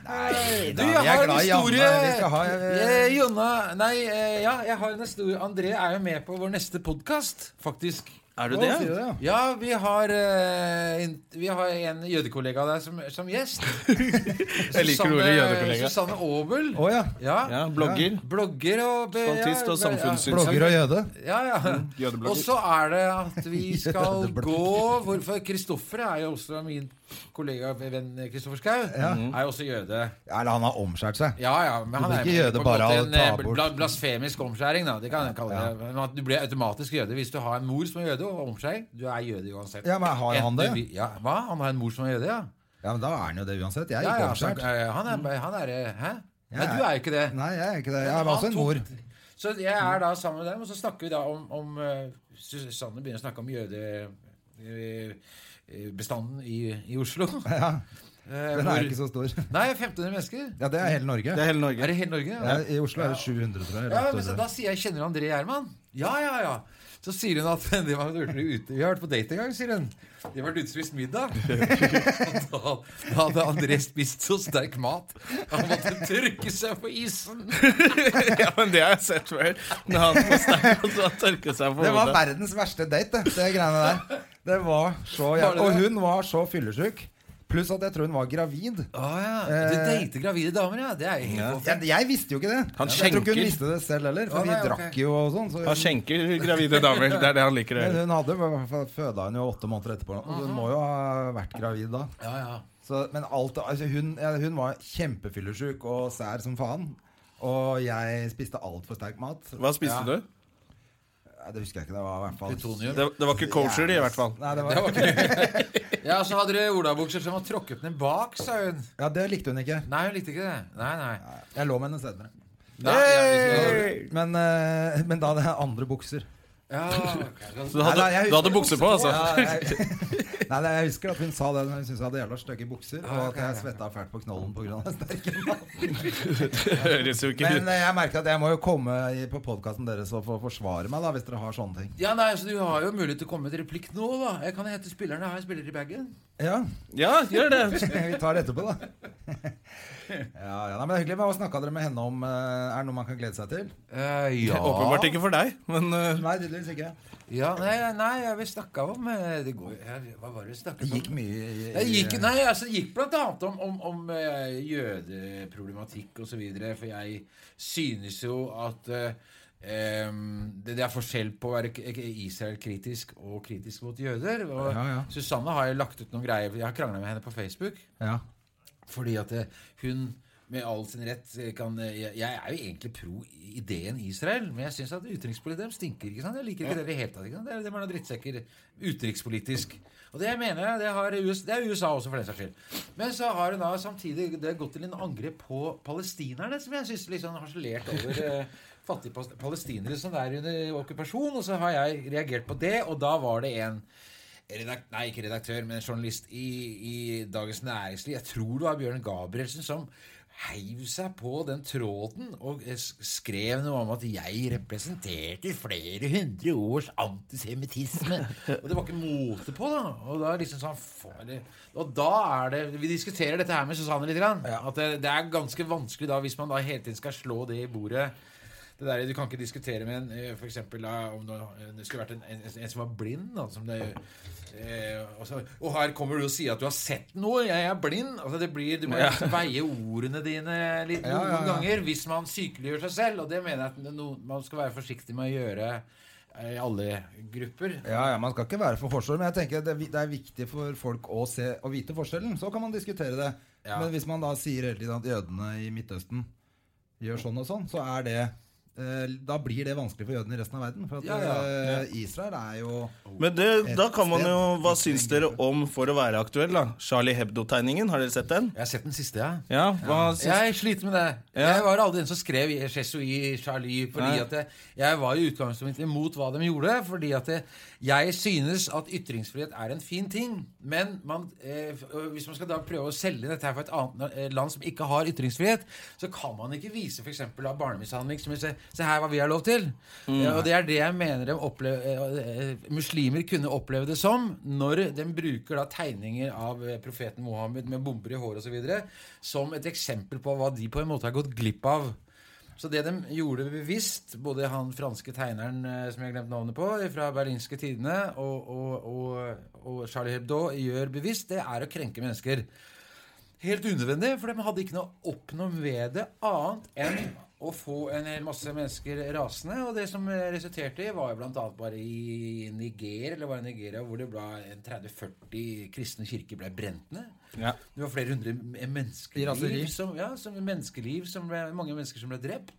Speaker 2: Nei,
Speaker 3: Du, jeg har en historie.
Speaker 2: Vi skal ha
Speaker 3: Eh, Jonna Nei, eh, ja, jeg har en historie. André er jo med på vår neste podkast, faktisk.
Speaker 1: Er du
Speaker 2: Å,
Speaker 1: det?
Speaker 2: sier du det, ja?
Speaker 3: Ja, vi har, eh, en- vi har en jødekollega der som, som gjest.
Speaker 1: Jeg liker
Speaker 3: Susanne-
Speaker 1: ordet jødekollega.
Speaker 3: Susanne Aabel.
Speaker 2: Å ja.
Speaker 3: Ja.
Speaker 1: Ja, blogger.
Speaker 3: Blogger og Mm. be-
Speaker 1: Spaltist og
Speaker 3: ja, be- ja.
Speaker 1: samfunnssyns-
Speaker 2: Blogger og jøde.
Speaker 3: Ja, ja.
Speaker 1: Jødeblogger.
Speaker 3: Og så er det at vi skal
Speaker 2: Jødeblogger.
Speaker 3: gå Hvorfor Kristoffer er jo også min kollega venn Kristoffer Schau. Er jo også jøde.
Speaker 2: Eller han har omskjært seg.
Speaker 3: Ja, ja, men han
Speaker 2: blir
Speaker 3: er
Speaker 2: ikke jøde
Speaker 3: på en
Speaker 2: bare
Speaker 3: måte
Speaker 2: av å
Speaker 3: en
Speaker 2: ta
Speaker 3: eh,
Speaker 2: bort-
Speaker 3: bla- blasfemisk omskjæring, da. Det kan jeg kalle det. Men at du blir automatisk jøde hvis du har en mor som er jøde, og omskjæring. Du er jøde uansett.
Speaker 2: Ja, men har han
Speaker 3: Enten
Speaker 2: det?
Speaker 3: vi- Ja, hva? Han har en mor som er jøde, ja?
Speaker 2: Ja, men Da er han jo det uansett. Jeg er
Speaker 3: ja,
Speaker 2: ikke
Speaker 3: ja så,
Speaker 2: omskjært. Mm.
Speaker 3: eh, han er, han er eh, Hæ?
Speaker 2: Jeg
Speaker 3: Nei, du
Speaker 2: er-
Speaker 3: er jo ikke det.
Speaker 2: Nei, jeg er ikke det. Jeg har også en mor.
Speaker 3: Så jeg
Speaker 2: Mm.
Speaker 3: er da sammen med dem, og så snakker vi da om, om eh, Susanne begynner å snakke om jødebestanden i, i Oslo.
Speaker 2: Ja,
Speaker 3: Eh,
Speaker 2: Den
Speaker 3: hvor-
Speaker 2: er ikke så stor.
Speaker 3: Nei, 1500 mennesker.
Speaker 2: Ja, Det er hele Norge.
Speaker 1: Det er hele Norge.
Speaker 3: Er det hele Norge?
Speaker 2: Ja, I Oslo er det 700, tror jeg. eller
Speaker 3: Ja, men så,
Speaker 2: 800.
Speaker 3: da sier jeg 'Kjenner du André Gjerman?' Ja, ja, ja. Så sier hun at de var ute, vi har vært på date en gang, sier hun. De har vært ute og spist middag. Og da, da hadde André spist så sterk mat at han måtte trykke seg på isen.
Speaker 1: ja, men det har jeg sett før. Når han på sterk og så tørker seg på
Speaker 2: Det var
Speaker 1: hodet.
Speaker 2: verdens verste date, det, det greiene der. Det var så
Speaker 3: Var det
Speaker 2: jævlig. Og
Speaker 3: det?
Speaker 2: hun var så fyllesyk. Pluss at jeg tror hun var gravid.
Speaker 3: Å Ah, ja. Du
Speaker 2: Eh.
Speaker 3: dater gravide damer, ja. Det er jo helt
Speaker 1: Ja.
Speaker 2: Jeg, jeg visste jo ikke det.
Speaker 1: Han
Speaker 2: jeg tror ikke hun
Speaker 1: skjenker.
Speaker 2: visste det selv heller,
Speaker 3: Å,
Speaker 2: for vi
Speaker 3: nei, ok.
Speaker 2: drakk jo og sånn. Så
Speaker 1: Han skjenker gravide damer. Det er det han liker å
Speaker 2: men
Speaker 1: gjøre.
Speaker 2: hun hadde føda hun jo åtte måneder etterpå. Og hun må jo ha vært gravid da.
Speaker 3: Ja, ja.
Speaker 2: Så, men alt, altså hun, ja, hun var kjempefyllesyk og sær som faen. Og jeg spiste altfor sterk mat.
Speaker 1: Hva spiste
Speaker 3: Ja.
Speaker 1: du?
Speaker 2: Ja, Det husker jeg ikke. Det var i hvert fall
Speaker 3: Plutonium.
Speaker 1: Det, det var ikke kosher, i hvert fall.
Speaker 2: Nei, det var,
Speaker 3: Det var ikke- Ja, så hadde dere olabukser som var tråkket ned bak, sa hun.
Speaker 2: ja, det likte hun ikke.
Speaker 3: Nei, hun likte ikke det. Nei, nei.
Speaker 2: Jeg lå med henne senere.
Speaker 3: nei jeg-
Speaker 1: Hey!
Speaker 2: Men, eh, men da hadde jeg andre bukser.
Speaker 3: ja, ok. sånn.
Speaker 1: Så du hadde,
Speaker 2: Nei, nei, jeg
Speaker 1: du hadde
Speaker 2: husker
Speaker 1: bukse på, altså?
Speaker 2: Ja, jeg, nei, nei, jeg husker at hun sa det. Hun syntes jeg hadde jævla stygge bukser, og at jeg svetta fælt på knollen pga. den sterke maten.
Speaker 1: Høres jo ikke
Speaker 2: Men
Speaker 1: ut.
Speaker 2: eh, jeg merket at jeg må jo komme i- på podkasten deres og få forsvare meg, da, hvis dere har sånne ting.
Speaker 3: Ja, nei, så Du har jo mulighet til å komme med et replikk nå, da. Jeg kan hete spillerne. Jeg har en spiller i bagen.
Speaker 2: Ja,
Speaker 1: Ja, gjør det.
Speaker 2: Vi tar det etterpå, da. Ja, ja, nei, men det er hyggelig. Hva snakka dere med henne om? eh, Er det noe man kan glede seg til?
Speaker 1: Eh,
Speaker 3: ja.
Speaker 1: Åpenbart ikke for deg, men eh,
Speaker 2: Nei, tydeligvis ikke.
Speaker 3: Ja, nei, nei, jeg vil snakke om eh, det går, jeg, Hva var det vi snakket
Speaker 2: Det
Speaker 3: om?
Speaker 2: gikk mye i, i
Speaker 3: Jeg gikk, nei, altså, det gikk blant annet om, om, om eh, jødeproblematikk osv. For jeg synes jo at eh, em, det, det er forskjell på å være k- k- Israel-kritisk og kritisk mot jøder. Og
Speaker 2: Ja, ja.
Speaker 3: Susanne har jo lagt ut noen greier. Jeg har krangla med henne på Facebook.
Speaker 2: Ja.
Speaker 3: Fordi at eh, hun med all sin rett eh, kan eh, Jeg, jeg er jo egentlig pro i- ideen Israel, men jeg syns at utenrikspolitikk dem stinker. ikke sant? Jeg liker ikke det i det hele tatt. ikke sant? Det er, de er noen drittsekker utenrikspolitisk. Og det mener jeg, det, har US, det er USA også, for den saks skyld. Men så har hun da samtidig det gått til en angrep på palestinerne, som jeg syns liksom har harselert over eh, fattige pas- palestinere som er under okkupasjon. Og så har jeg reagert på det, og da var det en Redakt, nei, ikke redaktør, men journalist i, i Dagens Næringsliv. Jeg tror det var Bjørn Gabrielsen som heiv seg på den tråden og eh, s- skrev noe om at jeg representerte flere hundre års antisemittisme. Og det var ikke mote på, da. Og da liksom sånn faen, det- Og da er det Vi diskuterer dette her med Susanne litt. Grann, at det, det er ganske vanskelig da, hvis man da hele tiden skal slå det i bordet. Det der, du kan ikke diskutere med en eh, for eksempel, da, om det, eh, det skulle vært en, en, en som var blind. Da, som det, eh, og, så, og her kommer du og sier at du har sett noe, jeg er blind. Altså, det blir, du må veie ordene dine litt
Speaker 2: Ja,
Speaker 3: noen
Speaker 2: ja, ja.
Speaker 3: ganger hvis man sykeliggjør seg selv. Og det mener jeg at det er noe man skal være forsiktig med å gjøre eh, i alle grupper.
Speaker 2: Ja, ja, Man skal ikke være for forskjell, men jeg tenker det, er vi- det er viktig for folk å, se, å vite forskjellen. Så kan man diskutere det.
Speaker 3: Ja.
Speaker 2: Men hvis man da sier hele tiden at jødene i Midtøsten gjør sånn og sånn, så er det eh, Da blir det vanskelig for jødene i resten av verden. For at
Speaker 3: Ja, ja.
Speaker 2: eh, Israel er jo
Speaker 1: Men det, da kan man jo Hva syns dere om, for å være aktuell, da? Charlie Hebdo-tegningen, har dere sett den?
Speaker 3: Jeg har sett den siste, jeg.
Speaker 1: Ja, hva syns
Speaker 3: Jeg sliter med det. Jeg var aldri den som skrev Chesui Charlie. Fordi
Speaker 1: Nei.
Speaker 3: at jeg, jeg var i utgangspunktet imot hva de gjorde. Fordi at jeg, jeg synes at ytringsfrihet er en fin ting. Men man, eh, hvis man skal da prøve å selge dette her for et annet eh, land som ikke har ytringsfrihet, så kan man ikke vise f.eks. av barnemishandling som se, se her hva vi har lov til. Ja, og det er det jeg mener de opplev- eh, eh, muslimer kunne oppleve det som når de bruker da tegninger av eh, profeten Mohammed med bomber i håret osv. som et eksempel på hva de på en måte har gått glipp av. Så det de gjorde bevisst, både han franske tegneren eh, som jeg har glemt navnet på, fra Berlinske Tidene, og, og, og, og Charlie Hebdo gjør bevisst, det er å krenke mennesker. Helt unødvendig, for de hadde ikke noe å oppnå ved det annet enn å få en hel masse mennesker rasende. Og det som resulterte i, var jo bl.a. bare i Niger, eller var det Nigeria, hvor det ble en 30-40 kristne kirker ble brent ned.
Speaker 1: Ja.
Speaker 3: Det var flere
Speaker 2: I
Speaker 3: hundre
Speaker 2: raseri.
Speaker 3: menneskeliv som, ja, som menneskeliv som ble, mange mennesker som ble drept.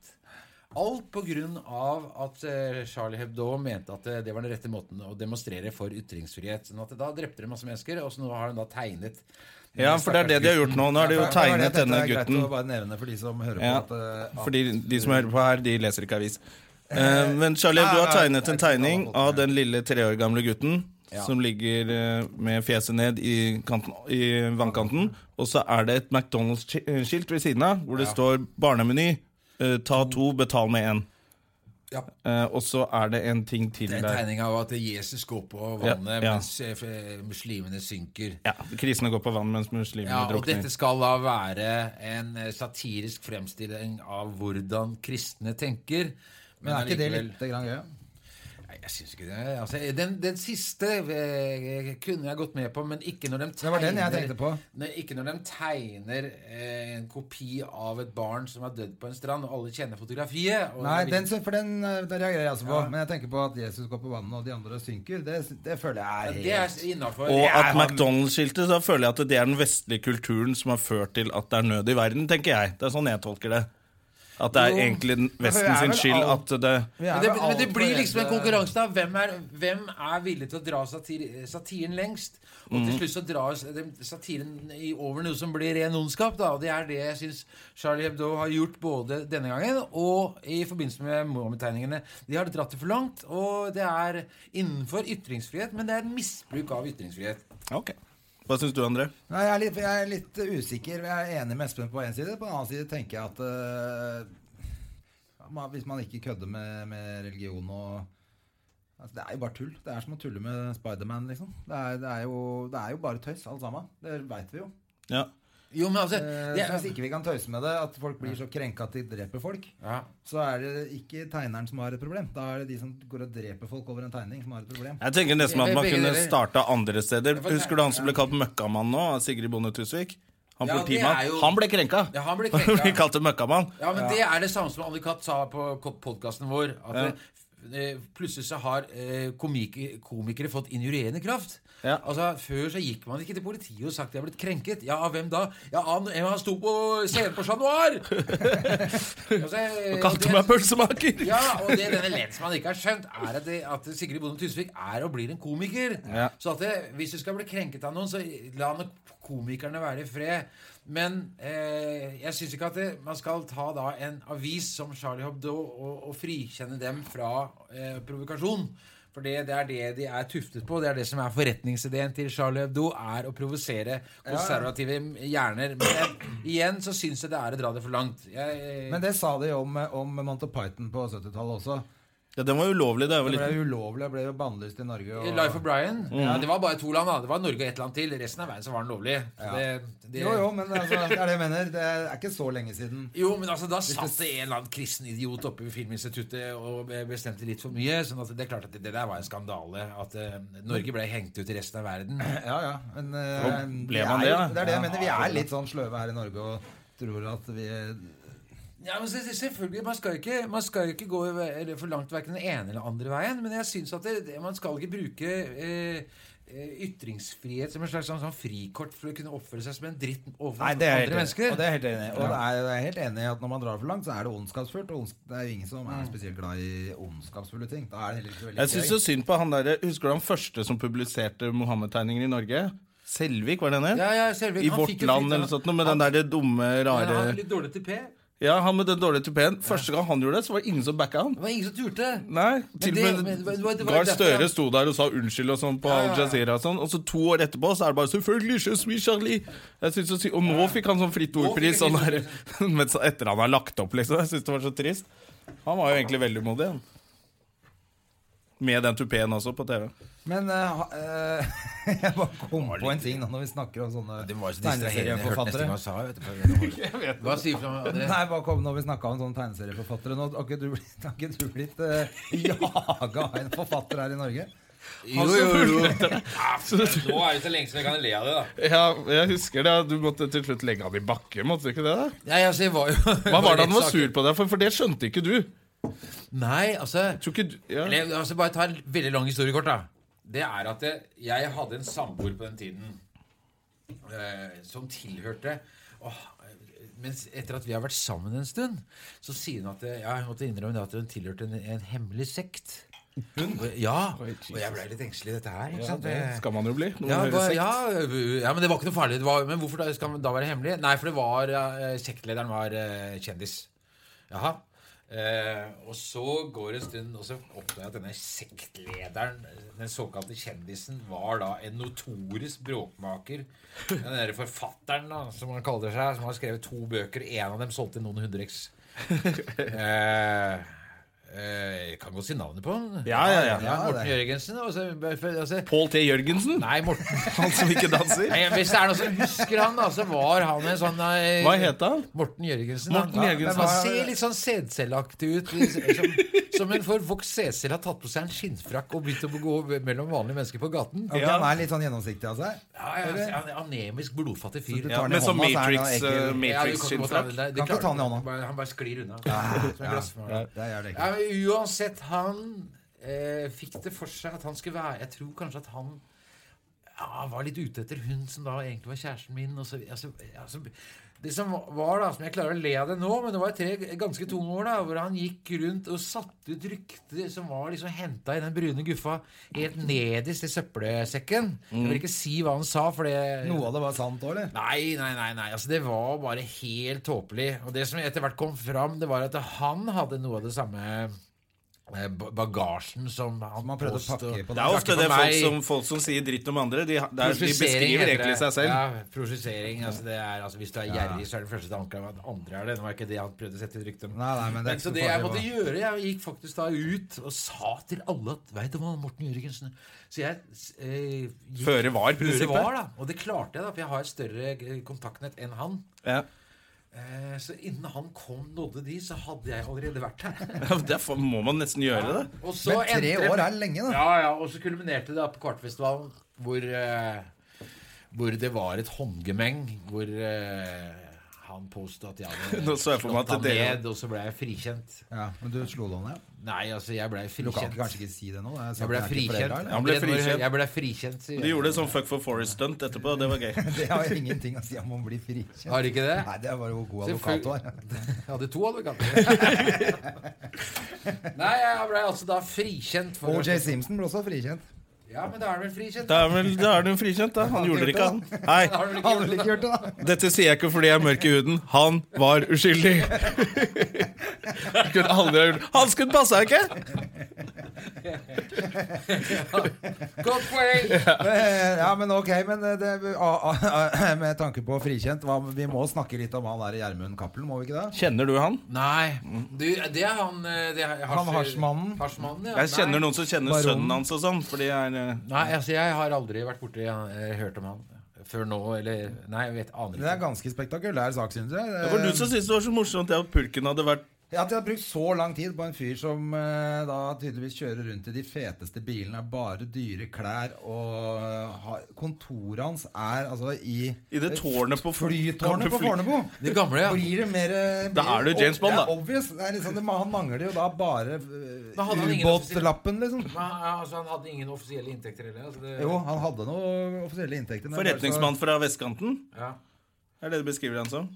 Speaker 3: Alt på grunn av at eh, Charlie Hebdo mente at eh, det var den rette måten å demonstrere for ytringsfrihet. Sånn at da drepte de masse mennesker, og så nå har de da tegnet
Speaker 1: ja, for det er det de har gjort nå. Nå har de jo
Speaker 2: Ja, for- for det
Speaker 1: tegnet
Speaker 2: tenkte
Speaker 1: denne
Speaker 2: jeg er
Speaker 1: gutten.
Speaker 2: Greit å bare nevne for de som hører
Speaker 1: Ja,
Speaker 2: på. At, eh,
Speaker 1: fordi de som hører på her, de leser ikke avis. Eh, men Charlie, du har tegnet en tegning av den lille tre år gamle gutten som ligger eh, med fjeset ned i, kanten, i vannkanten. Og så er det et McDonald's-skilt ved siden av hvor det står 'barnemeny'. eh, ta to, betal med én.
Speaker 3: Ja.
Speaker 1: Eh, og så er det en ting til
Speaker 3: Det er en
Speaker 1: der.
Speaker 3: tegning av at Jesus går på
Speaker 1: Ja,
Speaker 3: vannet
Speaker 1: ja.
Speaker 3: mens eh, f- eh, muslimene synker.
Speaker 1: Ja, Krisene går på vann mens muslimene
Speaker 3: Ja, og
Speaker 1: drukner.
Speaker 3: dette skal da være en eh, satirisk fremstilling av hvordan kristne tenker.
Speaker 2: men er ikke det
Speaker 3: allikevel-
Speaker 2: litt grann gøy?
Speaker 3: Nei, jeg syns ikke det. Altså, den, den siste eh, kunne jeg gått med på, men ikke når de tegner
Speaker 2: Det var den jeg tenkte på.
Speaker 3: Nei, ikke når de tegner eh, en kopi av et barn som er dødd på en strand, og alle kjenner fotografiet. Og
Speaker 2: Nei,
Speaker 3: det-
Speaker 2: den, for den eh, der reagerer jeg også på. Men jeg tenker på at Jesus går på vannet, og de andre synker. Det, det føler jeg er helt
Speaker 3: Det er innafor.
Speaker 1: Og at McDonald's-skiltet, så føler jeg at det er den vestlige kulturen som har ført til at det er nød i verden, tenker jeg. Det er sånn jeg tolker det. At det er
Speaker 3: Jo.
Speaker 1: egentlig den-
Speaker 2: for vi
Speaker 1: Vesten
Speaker 2: er
Speaker 1: sin
Speaker 2: vel
Speaker 1: skyld
Speaker 2: all-
Speaker 1: at det
Speaker 2: Vi er
Speaker 3: Men det,
Speaker 2: vel
Speaker 3: men det
Speaker 2: alt
Speaker 3: blir liksom en
Speaker 2: foreldre-
Speaker 3: konkurranse, da. Hvem er, hvem er villig til å dra satir, satiren lengst? Og til slutt så dras den satiren i over noe som blir ren ondskap, da. Og det er det jeg syns Charlie Hebdo har gjort både denne gangen og i forbindelse med Mohammed-tegningene. De har dratt det for langt, og det er innenfor ytringsfrihet, men det er en misbruk av ytringsfrihet.
Speaker 1: Ok. Hva syns du, André?
Speaker 2: Nei, jeg er litt, jeg er litt eh, usikker. Jeg er enig med Espen på én side. På den annen side tenker jeg at eh, ja, man- hvis man ikke kødder med, med religion og altså, Det er jo bare tull. Det er som å tulle med Spiderman, liksom. Det er, det, er jo, det er jo bare tøys, alt sammen. Det veit vi jo.
Speaker 1: Ja.
Speaker 3: Jo, men altså
Speaker 2: Eh,
Speaker 3: det
Speaker 2: så hvis
Speaker 3: er,
Speaker 2: ikke vi kan tøyse med det, at folk blir så krenka at de dreper folk,
Speaker 3: ja.
Speaker 2: så er det ikke tegneren som har et problem. Da er det de som går og dreper folk over en tegning, som har et problem.
Speaker 1: Jeg tenker nesten at man
Speaker 3: Begge
Speaker 1: kunne
Speaker 3: deler.
Speaker 1: starta andre steder.
Speaker 3: for-
Speaker 1: Husker du han som ble kalt møkkamann nå? av Sigrid Bonde Tusvik? Han
Speaker 3: Ja, det er
Speaker 1: politimannen.
Speaker 3: jo-
Speaker 1: Han ble krenka!
Speaker 3: Ja, han ble
Speaker 1: Han ble
Speaker 3: krenka.
Speaker 1: kalt en møkkamann.
Speaker 3: Ja, men det er det samme som Anne-Kat. sa på podkasten vår. At
Speaker 1: Ja.
Speaker 3: eh, f- eh, plutselig så har eh, komik komikere fått injurierende kraft.
Speaker 1: Ja.
Speaker 3: Altså, Før så gikk man ikke til politiet og sagt de har blitt krenket. Ja, av hvem da? Ja, han, han sto på scenen på Chat Noir! altså,
Speaker 1: Han
Speaker 3: eh, og det-
Speaker 1: kalte meg pølsemaker!
Speaker 3: ja, og det denne lensmannen ikke har skjønt, er at, det, at Sigrid Bonde Tusvik er og blir en komiker.
Speaker 1: Ja.
Speaker 3: Så at det, hvis du skal bli krenket av noen, så la nå komikerne være i fred. Men eh, jeg syns ikke at det, man skal ta da en avis som Charlie Hebdo og, og frikjenne dem fra eh, provokasjon. For det, det er det de er tuftet på. Det er det som er forretningsideen til Charlie Hebdo, er å provosere konservative hjerner. Men jeg, igjen så syns jeg det er å dra det for langt. Jeg, eh,
Speaker 2: Men det sa de om, om Monty Python på 70-tallet også.
Speaker 1: Ja, den var ulovlig da jeg var
Speaker 2: Det ble
Speaker 1: liten.
Speaker 2: jo ulovlig, det ble jo bannlyst i Norge. Og...
Speaker 3: Life of Brian.
Speaker 2: Mm.
Speaker 3: Ja, det var bare to land. da Det var Norge og ett land til. Resten av verden så var den lovlig. Så Det, det,
Speaker 2: Jo, jo, men altså, det er det jeg mener. Det er ikke så lenge siden.
Speaker 3: Jo, men altså, da satt det en eller annen kristen idiot oppe ved Filminstituttet og be- bestemte litt for mye. sånn at det er klart at det, det der var en skandale. At eh, Norge ble hengt ut i resten av verden.
Speaker 2: Ja, ja. Men eh,
Speaker 1: Jo, ble
Speaker 2: vi
Speaker 1: man
Speaker 2: er,
Speaker 1: det,
Speaker 2: jo-
Speaker 1: da?
Speaker 2: det er det jeg mener. Vi er litt sånn sløve her i Norge og tror at vi
Speaker 3: Ja, men se- se- selvfølgelig, Man skal jo ikke, man skal jo ikke gå i ve- eller for langt verken den ene eller andre veien, men jeg syns at det, det- man skal ikke bruke eh, eh, ytringsfrihet som en slags sånn, sånn frikort for å kunne oppføre seg som en dritt overfor andre mennesker.
Speaker 2: Og det er jeg helt enig i. Og det er, jeg er helt enig i at når man drar for langt, så er det ondskapsfullt. Og ondsk, det er jo ingen som
Speaker 3: Mm.
Speaker 2: er spesielt glad i ondskapsfulle ting. Da er det heller ikke så veldig
Speaker 1: Jeg syns så synd på han derre Husker du han første som publiserte Mohammed-tegninger i Norge? Selvik, var det han het?
Speaker 3: Ja, ja, Selvik,
Speaker 1: I
Speaker 3: han fikk
Speaker 1: Vårt
Speaker 3: jo
Speaker 1: Land
Speaker 3: fint,
Speaker 1: eller
Speaker 3: han-
Speaker 1: sånt noe, med
Speaker 3: han-
Speaker 1: den der dumme,
Speaker 3: Men han
Speaker 1: rare
Speaker 3: er litt dårlig til P.
Speaker 1: Ja, han med den dårlige tupeen. Første gang han gjorde det, så var det ingen som backa han.
Speaker 3: Det var ingen som turte.
Speaker 1: Nei, til
Speaker 3: det-
Speaker 1: og
Speaker 3: men det var- det var-
Speaker 1: med
Speaker 3: det var
Speaker 1: Gahr
Speaker 3: derfor
Speaker 1: Støre
Speaker 3: han-
Speaker 1: sto der og sa unnskyld og sånn på
Speaker 3: Ja, ja,
Speaker 1: Al
Speaker 3: ja.
Speaker 1: Jazeera og sånn, og så to år etterpå så er det bare 'Selvfølgelig, je suis Charlie'. Jeg synes, så sy- Og nå fikk han sånn fritt
Speaker 3: Nå fikk
Speaker 1: ordpris
Speaker 3: han
Speaker 1: sånn
Speaker 3: fritt
Speaker 1: der, men så etter han har lagt opp, liksom. Jeg syns det var så trist. Han var jo egentlig veldig modig, han. Med den tupeen også på TV.
Speaker 2: Men eh, ha- eh, jeg bare kom på en ting nå når vi snakker om sånne
Speaker 3: Det var så distraherende. Jeg hørte nesten hva jeg sa. Vet du, for jeg holder- hva sier du, André?
Speaker 2: Nei, bare kom når vi snakka om sånne tegneserieforfattere. Nå har ikke du blitt, har ikke du blitt eh, jaga av en forfatter her i Norge?
Speaker 3: Jo, jo, jo. Nå er det så lenge siden jeg kan le av det, da.
Speaker 1: Ja, jeg husker det. Du måtte til slutt legge han i bakken, måtte du ikke det? da?
Speaker 3: Nei, altså, jeg var jo
Speaker 1: Hva var det han
Speaker 3: litt
Speaker 1: var
Speaker 3: sak-
Speaker 1: sur på deg for? For det skjønte ikke du.
Speaker 3: Nei, altså
Speaker 1: Tror ikke du ja.
Speaker 3: Eller, altså Bare ta en veldig lang historie kort, da. Det er at eh, jeg hadde en samboer på den tiden eh, som tilhørte åh, eh, Mens etter at vi har vært sammen en stund, så sier hun at eh, ja, jeg måtte innrømme det at hun tilhørte en, en hemmelig sekt. Og- Ja. Og jeg ble litt engstelig, dette her. Ikke sant?
Speaker 1: Det skal man jo bli. når man
Speaker 3: Ja,
Speaker 1: hører
Speaker 3: hva-
Speaker 1: sekt.
Speaker 3: ja, øh, ja, men det var ikke noe farlig. Det var, men hvorfor da, skal man da være hemmelig? Nei, for det var eh, sektlederen var eh, kjendis. Jaha. Eh, og så går det en stund, og så oppdager jeg at denne sektlederen, den såkalte kjendisen, var da en notorisk bråkmaker. Den derre forfatteren, da, som han kaller seg, som har skrevet to bøker. En av dem solgte noen hundre eks. Eh, eh, jeg kan godt si navnet på han.
Speaker 1: Ja, ja, ja.
Speaker 3: Morten Jørgensen. Altså, altså,
Speaker 1: Pål T. Jørgensen?
Speaker 3: nei, Morten
Speaker 1: Han som ikke danser?
Speaker 3: Nei, Hvis det er noen som husker han, da, så var han en sånn eh,
Speaker 1: Hva het han?
Speaker 3: Morten Jørgensen.
Speaker 1: Morten
Speaker 3: han,
Speaker 1: Jørgensen.
Speaker 3: Han ser litt sånn sædcelleaktig ut. litt Som, som en forvokst sædcelle har tatt på seg en skinnfrakk og begynt å gå mellom vanlige mennesker på gaten.
Speaker 2: Ok,
Speaker 1: Ja.
Speaker 2: Han er litt sånn gjennomsiktig av seg.
Speaker 3: Ja, ja, altså, han er Anemisk, blodfattig
Speaker 2: Så
Speaker 3: fyr.
Speaker 2: du
Speaker 1: Ja,
Speaker 2: tar den i
Speaker 1: men som
Speaker 2: hånda, så er han
Speaker 1: sånn Matrix, eh,
Speaker 2: egentlig-
Speaker 3: Ja, du kan ikke ta
Speaker 1: Matrix-skinnfrakk.
Speaker 3: det der.
Speaker 2: Kan
Speaker 3: Det
Speaker 2: ikke
Speaker 3: klarer
Speaker 2: ta han i
Speaker 3: du
Speaker 2: hånda.
Speaker 3: Bare- Han bare sklir unna. Som en glassmaler.
Speaker 2: Det er jævlig
Speaker 3: Ja,
Speaker 2: ekkelt.
Speaker 3: men uansett, han eh, fikk det for seg at han skulle være Jeg tror kanskje at han ja, var litt ute etter hun som da egentlig var kjæresten min. Og så, altså, altså, det som var da, som jeg klarer å le av det nå, men det var tre ganske tunge år da, hvor han gikk rundt og satte ut rykter som var liksom henta i den brune guffa helt nederst i søppelsekken. Jeg vil ikke si hva han sa, for det
Speaker 2: Mm. Noe av det var sant òg, eller?
Speaker 3: Nei, nei, nei, nei. Altså, det var bare helt tåpelig. Og det som etter hvert kom fram, det var at han hadde noe av det samme eh, ba- bagasjen som han
Speaker 2: Man prøvde å
Speaker 3: påstod-
Speaker 2: pakke på
Speaker 1: Det er ofte
Speaker 3: Takke
Speaker 1: det
Speaker 3: for
Speaker 1: folk
Speaker 3: meg.
Speaker 1: som, folk som sier dritt om andre. De, det er, de
Speaker 3: Prosjisering
Speaker 1: beskriver
Speaker 3: heter
Speaker 1: egentlig
Speaker 3: det.
Speaker 1: seg selv.
Speaker 3: Ja, prosjisering. Altså, det er, altså, hvis du er gjerrig, så er det første til å anklage at andre er det. Det var ikke det han prøvde å sette ut rykte om.
Speaker 2: Nei, nei, men det er ikke
Speaker 3: så
Speaker 2: så
Speaker 3: det jeg
Speaker 2: farlig,
Speaker 3: måtte
Speaker 2: hva?
Speaker 3: gjøre, jeg gikk faktisk da ut og sa til alle at Veit du hva, Morten Jørgensen Så jeg eh,
Speaker 1: Føre
Speaker 3: gikk Føre
Speaker 1: var-prinsippet.
Speaker 3: var, da. Og det klarte jeg, da, for jeg har et større eh, kontaktnett enn han.
Speaker 1: Ja.
Speaker 3: Eh, Så innen han kom nådde de, så hadde jeg allerede vært her.
Speaker 1: Ja, men Derfor må man nesten gjøre det.
Speaker 3: Og så
Speaker 2: Men tre
Speaker 3: endte-
Speaker 2: år er lenge, da.
Speaker 3: Ja, ja, og så kulminerte det da på Kvartfestivalen, hvor, eh, hvor det var et håndgemeng, hvor eh, han påstod at jeg
Speaker 1: Nå
Speaker 3: hadde
Speaker 1: så jeg for meg at
Speaker 3: han
Speaker 1: dere-
Speaker 3: ned, og så ble jeg frikjent.
Speaker 2: Ja, men du slo det ned?
Speaker 3: Nei, altså, jeg ble
Speaker 2: Du kan
Speaker 3: frikjent.
Speaker 2: ikke, kanskje ikke si det nå? da.
Speaker 3: Jeg
Speaker 2: saken er
Speaker 3: ble
Speaker 2: ikke for
Speaker 3: frikjent.
Speaker 2: dere, eller?
Speaker 1: Han ble
Speaker 3: Redd når-
Speaker 1: frikjent.
Speaker 3: Jeg ble frikjent, sier
Speaker 1: De
Speaker 3: jeg.
Speaker 1: gjorde det som Fuck for Forest-stunt etterpå, og det var gøy.
Speaker 2: Det har ingenting å si om man blir frikjent.
Speaker 3: Har du ikke det?
Speaker 2: Nei, det er bare hvor god advokat du er.
Speaker 3: Jeg hadde to advokater. Nei, jeg ble altså da frikjent. for-
Speaker 2: OJ Simpson ble også frikjent.
Speaker 3: Ja, men da er du vel frikjent?
Speaker 1: Da er, vel, da er du frikjent, da. Han gjorde det ikke, han.
Speaker 3: Da
Speaker 1: Hei,
Speaker 3: har du vel ikke
Speaker 2: Han
Speaker 3: gjort
Speaker 2: ville
Speaker 3: det, da?
Speaker 2: ikke gjort det, da.
Speaker 1: dette sier jeg ikke fordi jeg er mørk i huden. Han var uskyldig. Kunne aldri ha gjort Han skulle passa ikke!
Speaker 3: Godt poeng!
Speaker 2: Eh, Ja, men ok, men eh, det, ah, ah, med tanke på frikjent hva, Vi må snakke litt om han der Gjermund Cappelen, må vi ikke det?
Speaker 1: Kjenner du han?
Speaker 3: Nei, du, det er han eh, det er
Speaker 2: Han hasjmannen.
Speaker 3: hasjmannen, ja.
Speaker 1: Jeg kjenner
Speaker 3: Nei.
Speaker 1: noen som kjenner
Speaker 2: Baron.
Speaker 1: sønnen hans og sånn. Fordi jeg er eh,
Speaker 3: Nei, altså, jeg har aldri vært borti eh, hørt om han før nå, eller Nei, jeg vet aner
Speaker 2: Det er
Speaker 3: ikke.
Speaker 2: ganske spektakulær sak, synes jeg.
Speaker 1: Det var du som syntes det var så morsomt det at pulken hadde vært
Speaker 2: Ja, At de har brukt så lang tid på en fyr som eh, da tydeligvis kjører rundt i de feteste bilene, har bare dyre klær og eh, har- Kontoret hans er altså i
Speaker 1: i det tårnet på
Speaker 2: Flytårnet på
Speaker 1: fly-
Speaker 2: Fornebu!
Speaker 3: Det gamle, ja.
Speaker 2: Blir det mer eh,
Speaker 1: Da er du
Speaker 2: blir-
Speaker 1: James Bond, da.
Speaker 2: Det er obvious. Det er liksom, det, han mangler jo da bare eh,
Speaker 3: Da hadde han ingen
Speaker 2: ubåtlappen, liksom.
Speaker 3: Men, han- altså, han hadde ingen offisielle inntekter heller. Altså, det,
Speaker 2: Eh, Jo, han hadde noen offisielle inntekter. men det er bare så-
Speaker 1: Forretningsmann fra vestkanten?
Speaker 3: Ja.
Speaker 1: Er det det beskriver han som?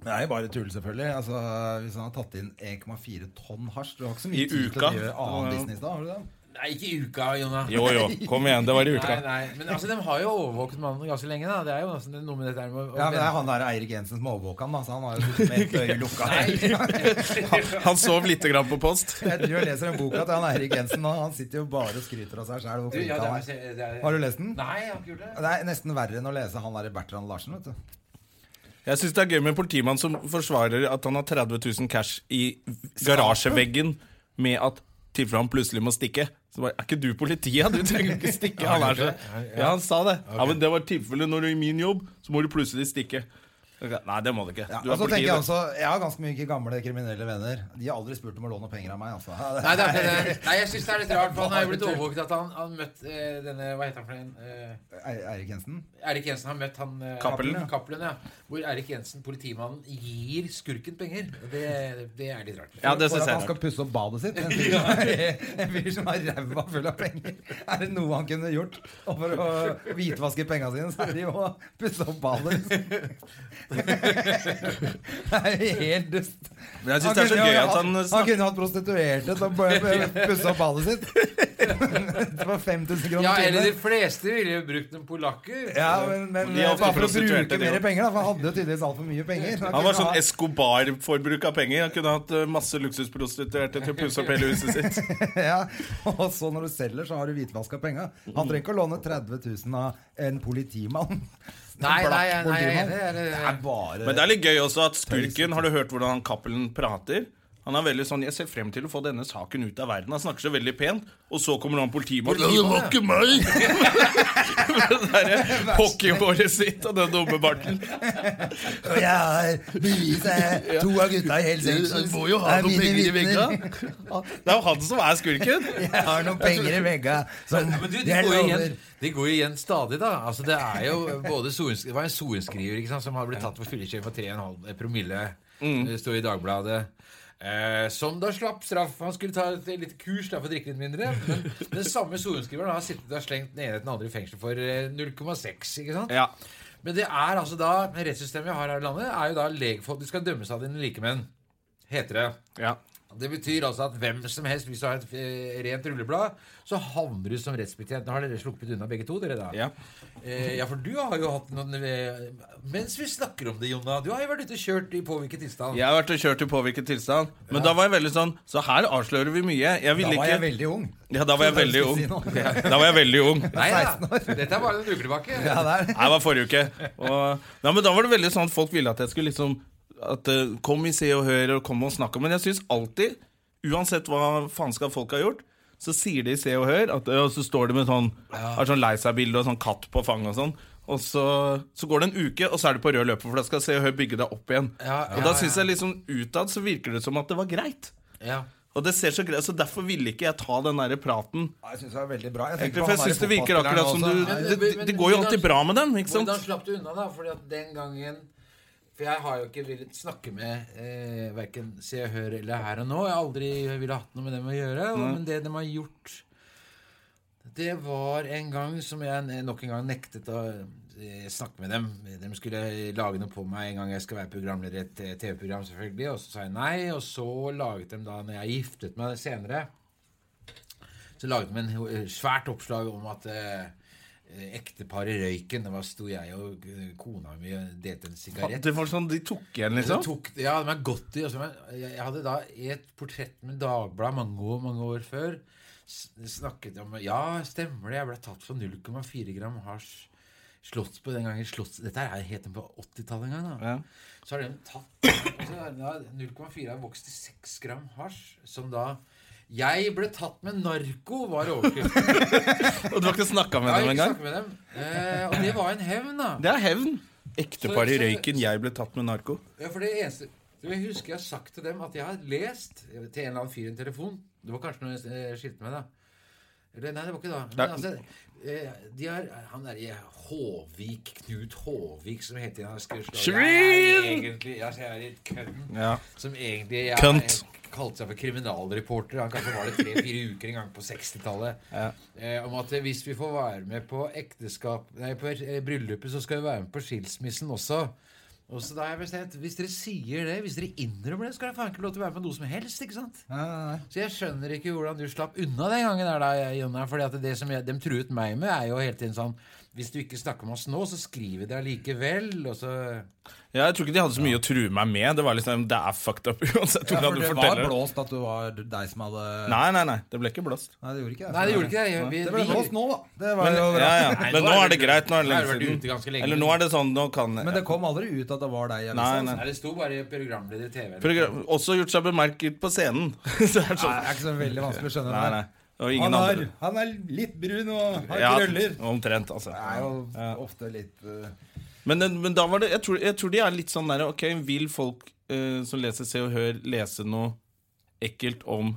Speaker 2: Det er jo bare tull, selvfølgelig. Altså, hvis han har tatt inn 1,4 tonn hasj Du har ikke så mye
Speaker 1: I
Speaker 2: tid til
Speaker 1: uka.
Speaker 2: å gjøre
Speaker 1: Ja, ja.
Speaker 2: annen business da? har du det?
Speaker 3: Nei, ikke i uka, Jonna.
Speaker 1: Jo jo, kom igjen. Det var i
Speaker 3: Nei, nei, men altså, De har jo overvåket mannen ganske lenge. da Det er jo nesten noe med dette her med å- å
Speaker 2: Ja, men det er
Speaker 3: vente.
Speaker 2: han der Eirik Jensen som overvåka han, da, så han har jo sittet med et øye lukka.
Speaker 1: Han sov lite grann på post.
Speaker 2: Jeg driver og leser en bok til han Eirik Jensen, og han sitter jo bare og skryter av seg sjæl.
Speaker 3: Du, ja, det
Speaker 2: Har
Speaker 3: er, det er,
Speaker 2: du lest den?
Speaker 3: Nei, jeg har ikke gjort det.
Speaker 2: Det er nesten verre enn å lese han der Bertrand Larsen, vet du.
Speaker 1: Jeg syns det er gøy med en politimann som forsvarer at han har 30 000 cash i garasjeveggen med at tilfelle han plutselig må stikke. Så bare, Er ikke du politiet? Du trenger ikke stikke. Han er så Ja, han sa det. Ja, men det var tilfellet når du er i min jobb, så må du plutselig stikke. Nei, det må du ikke.
Speaker 2: Ja,
Speaker 1: Du
Speaker 2: og
Speaker 1: er
Speaker 2: så tenker Jeg
Speaker 1: politiet.
Speaker 2: også, jeg har ganske mye gamle kriminelle venner. De har aldri spurt om å låne penger av meg. Altså.
Speaker 3: Nei, det er, ikke det, nei, jeg syns det er litt rart, for han har jo blitt overvåket at han, han møtt eh, denne Hva heter han for en? Eh,
Speaker 2: E- Eirik Jensen?
Speaker 3: Erik Jensen har møtt han eh,
Speaker 1: Cappelen.
Speaker 3: Cappelen, ja. Hvor Erik Jensen, politimannen, gir skurken penger. Det, det er litt rart.
Speaker 1: Ja, det
Speaker 2: For
Speaker 1: synes
Speaker 2: at
Speaker 1: jeg
Speaker 2: han
Speaker 1: er
Speaker 2: skal
Speaker 1: rart.
Speaker 2: pusse opp badet sitt? En fyr som er- en fyr som har ræva full av penger. Er det noe han kunne gjort Og for å hvitvaske penga sine? Så er det jo å pusse opp badet. Det er jo helt dust.
Speaker 1: Men jeg syns det er så
Speaker 2: kunne jo
Speaker 1: gøy at
Speaker 2: hatt-
Speaker 1: han
Speaker 2: Han
Speaker 1: snakker
Speaker 2: kunne hatt prostituerte til å bare pusse opp badet sitt. For 5000 kroner
Speaker 3: Ja, eller de
Speaker 2: timen.
Speaker 3: fleste ville jo brukt en polakker.
Speaker 2: Ja, men, men
Speaker 1: De er
Speaker 2: bare
Speaker 1: ofte
Speaker 2: for å
Speaker 1: prostituerte,
Speaker 2: bruke
Speaker 1: de
Speaker 2: mer
Speaker 1: også.
Speaker 2: penger, da. For han hadde jo tydeligvis altfor mye penger. så
Speaker 1: Han var
Speaker 2: kunne
Speaker 1: sånn
Speaker 2: ha-
Speaker 1: Escobar-forbruk av penger. Han kunne hatt eh, masse luksusprostituerte til å pusse opp hele huset sitt.
Speaker 2: ja, og så når du selger, så har du hvitvaska penga. Han trenger ikke å låne 30 000 av en politimann.
Speaker 3: Nei,
Speaker 2: En
Speaker 3: nei,
Speaker 2: blakk
Speaker 3: nei, jeg er
Speaker 2: politimann.
Speaker 3: enig, jeg er eh, enig.
Speaker 2: Det er bare
Speaker 1: Men det er litt gøy også at skurken Har du hørt hvordan han Cappelen prater? Han er veldig sånn 'Jeg ser frem til å få denne saken ut av verden'. Han snakker så veldig pent, og så kommer han politimann. Ja, det var ikke meg! det derre hockeyhåret sitt og den dumme barten.
Speaker 2: Og Jeg har beviset! To av gutta i Hells Angels
Speaker 1: må jo ha
Speaker 2: er
Speaker 1: noen
Speaker 2: mine
Speaker 1: penger i
Speaker 2: vitner.
Speaker 1: Det er jo han som er skurken.
Speaker 2: Jeg har noen penger i vegga som
Speaker 3: Men du, de
Speaker 2: jeg
Speaker 3: går, jo
Speaker 2: lover.
Speaker 3: igjen, de går jo igjen stadig, da. Altså, det, er jo både sorens- det var en sorenskriver ikke sant, som har blitt tatt for fyllekjøring for 3,5 eh, promille. Det står i Dagbladet. Eh, som da slapp straff. Han skulle ta et lite kurs da, for å drikke litt mindre. Men den samme sorenskriveren har sittet og slengt den ene etter den andre i fengsel for eh, 0,6. ikke sant?
Speaker 1: Ja.
Speaker 3: Men det er altså da rettssystemet vi har her i landet, er jo da legfolk Du skal dømmes av dine likemenn, heter det.
Speaker 1: ja.
Speaker 3: Det betyr altså at hvem som helst, hvis du har et eh, rent rulleblad, så havner du som rettsbetjent. Nå har dere sluppet unna begge to, dere da.
Speaker 1: Ja.
Speaker 3: Eh, ja, for du har jo hatt noen eh, Mens vi snakker om det, Jonna, du har jo vært ute og kjørt i påvirket tilstand.
Speaker 1: Jeg har vært og kjørt i påvirket tilstand, men da var jeg veldig sånn Så her avslører vi mye. Jeg
Speaker 2: Da
Speaker 1: ville
Speaker 2: var jeg
Speaker 1: ikke
Speaker 2: veldig ung.
Speaker 1: Ja, da var jeg veldig
Speaker 2: Hva
Speaker 1: ung.
Speaker 2: skal jeg si nå?
Speaker 1: Ja, Da var jeg veldig ung.
Speaker 3: Nei da, dette er bare en uke tilbake.
Speaker 2: Ja, det er det.
Speaker 1: Nei, det var forrige uke. Og, nei, men da var det veldig sånn at folk ville at jeg skulle liksom at, eh, Kom i Se og Hør og kom og snakk om Men jeg syns alltid, uansett hva faenskap folk har gjort, så sier de i Se og Hør at, Og så står de med sånn Har sånn lei seg-bilde og sånn katt på fanget og sånn. Og så, så går det en uke, og så er du på rød løper, for da skal Se og Hør bygge deg opp igjen.
Speaker 3: Ja,
Speaker 1: og
Speaker 3: ja,
Speaker 1: da
Speaker 3: ja.
Speaker 1: syns jeg liksom utad så virker det som at det var greit.
Speaker 3: Ja.
Speaker 1: Og det ser så greit Så derfor ville ikke jeg ta den der praten.
Speaker 2: Ja, Jeg syns det er veldig bra. Jeg,
Speaker 1: Egentlig, for
Speaker 2: tenker på
Speaker 1: jeg
Speaker 2: han der
Speaker 1: syns det virker
Speaker 2: fotballspilleren
Speaker 1: akkurat som du
Speaker 2: også.
Speaker 1: Det, det, det går jo alltid bra med dem, ikke sant?
Speaker 3: Hvordan slapp du unna, da? Fordi at den gangen For jeg har jo ikke villet snakke med eh, verken Se og Hør eller Her og Nå. Jeg har aldri ville hatt noe med dem å gjøre. Og, men det de har gjort Det var en gang som jeg ne- nok en gang nektet å eh, snakke med dem. De skulle lage noe på meg en gang jeg skal være programleder i et eh, TV-program, selvfølgelig. Og så sa jeg nei. Og så laget de da, når jeg giftet meg senere så laget de en ho- eh, svært oppslag om at eh, eh, ektepar i røyken Da sto jeg og eh, kona mi og delte en sigarett.
Speaker 1: Det var sånn, De tok igjen,
Speaker 3: Så
Speaker 1: liksom?
Speaker 3: tok, ja, de er godt i og så- men Jeg jeg hadde da i et portrett med Dagbladet mange år, mange år før s- snakket om Ja, stemmer det, jeg ble tatt for 0,4 gram hasj. Slotts på den gangen Slotts, Dette er helt på 80-tallet en gang. da
Speaker 1: Ja.
Speaker 3: Så har de tatt og så har de da 0,4 har vokst til 6 gram hasj, som da Jeg ble tatt med narko, var overskriften.
Speaker 1: Og du har ikke snakka med
Speaker 3: Jeg
Speaker 1: dem
Speaker 3: har ikke
Speaker 1: engang?
Speaker 3: snakket med dem. Eh, og det var en hevn, da.
Speaker 1: Det er hevn. Ektepar i
Speaker 3: Så- så-
Speaker 1: røyken, jeg ble tatt med narko.
Speaker 3: Ja, for det eneste Jeg husker jeg har sagt til dem at jeg har lest til en eller annen fyr i en telefon Det var kanskje når jeg eh, skilte meg, da. Eller, nei, det var ikke da. Men,
Speaker 1: Nei.
Speaker 3: altså, eh, de har, han derre Håvik, Knut Håvik, som hele tiden har skrevet Jeg er
Speaker 1: Svin!
Speaker 3: egentlig ja, så jeg er litt kødden.
Speaker 1: Ja.
Speaker 3: Som egentlig jeg,
Speaker 1: Kønt.
Speaker 3: kalte seg for kriminalreporter. Han kanskje var det tre-fire uker en gang på 60-tallet.
Speaker 1: Ja.
Speaker 3: Eh, om at eh, hvis vi får være med på ekteskap Nei, på eh, bryllupet, så skal vi være med på skilsmissen også. Og så da har jeg bestemt Hvis dere sier det, hvis dere innrømmer det, så skal dere faen ikke lov til å være med på noe som helst. ikke sant?
Speaker 2: Nei, nei, nei.
Speaker 3: Så jeg skjønner ikke hvordan du slapp unna den gangen der, da, Jonna. Fordi at det som jeg, de truet meg med, er jo hele tiden sånn Hvis du ikke snakker med oss nå, så skriver vi det allikevel. Og så
Speaker 1: Ja, jeg tror ikke de hadde så mye å true meg med. Det var liksom, det er fucked up uansett
Speaker 2: Ja,
Speaker 1: hvordan
Speaker 2: for
Speaker 1: du
Speaker 2: det var
Speaker 1: forteller det.
Speaker 2: blåst at du var deg som hadde
Speaker 1: Nei, nei, nei. Det ble ikke blåst.
Speaker 2: Nei, det gjorde ikke det.
Speaker 3: Nei, det gjorde ikke det. Vi,
Speaker 2: Det ble
Speaker 3: vi-
Speaker 2: blåst nå, da. Det var
Speaker 1: Men,
Speaker 2: jo bra.
Speaker 1: ja, ja.
Speaker 3: Nei,
Speaker 1: Men
Speaker 3: nå
Speaker 1: nå
Speaker 3: er
Speaker 1: er det
Speaker 3: det-
Speaker 1: greit. Nå er det
Speaker 3: nå har
Speaker 1: lenge
Speaker 3: det vært ute ganske
Speaker 1: siden.
Speaker 3: lenge.
Speaker 1: Eller nå er det sånn, nå kan
Speaker 2: Men det kom aldri ut at det var deg. i avisa,
Speaker 1: Nei, nei.
Speaker 3: Nei, det sto bare programleder i TV.
Speaker 1: Program- Også gjort seg bemerket på scenen. Så det er
Speaker 2: Nei,
Speaker 1: sånn.
Speaker 2: Altså, det er ikke så veldig vanskelig å skjønne.
Speaker 1: Nei, nei. Og ingen
Speaker 2: Han, har,
Speaker 1: andre.
Speaker 2: han er litt brun og har
Speaker 1: Ja,
Speaker 2: krøller.
Speaker 1: omtrent, altså.
Speaker 2: Det er jo ofte litt eh,
Speaker 1: Men, den- men da var det jeg tror, jeg tror de er litt sånn der Ok, vil folk eh, som leser Se og Hør, lese noe ekkelt om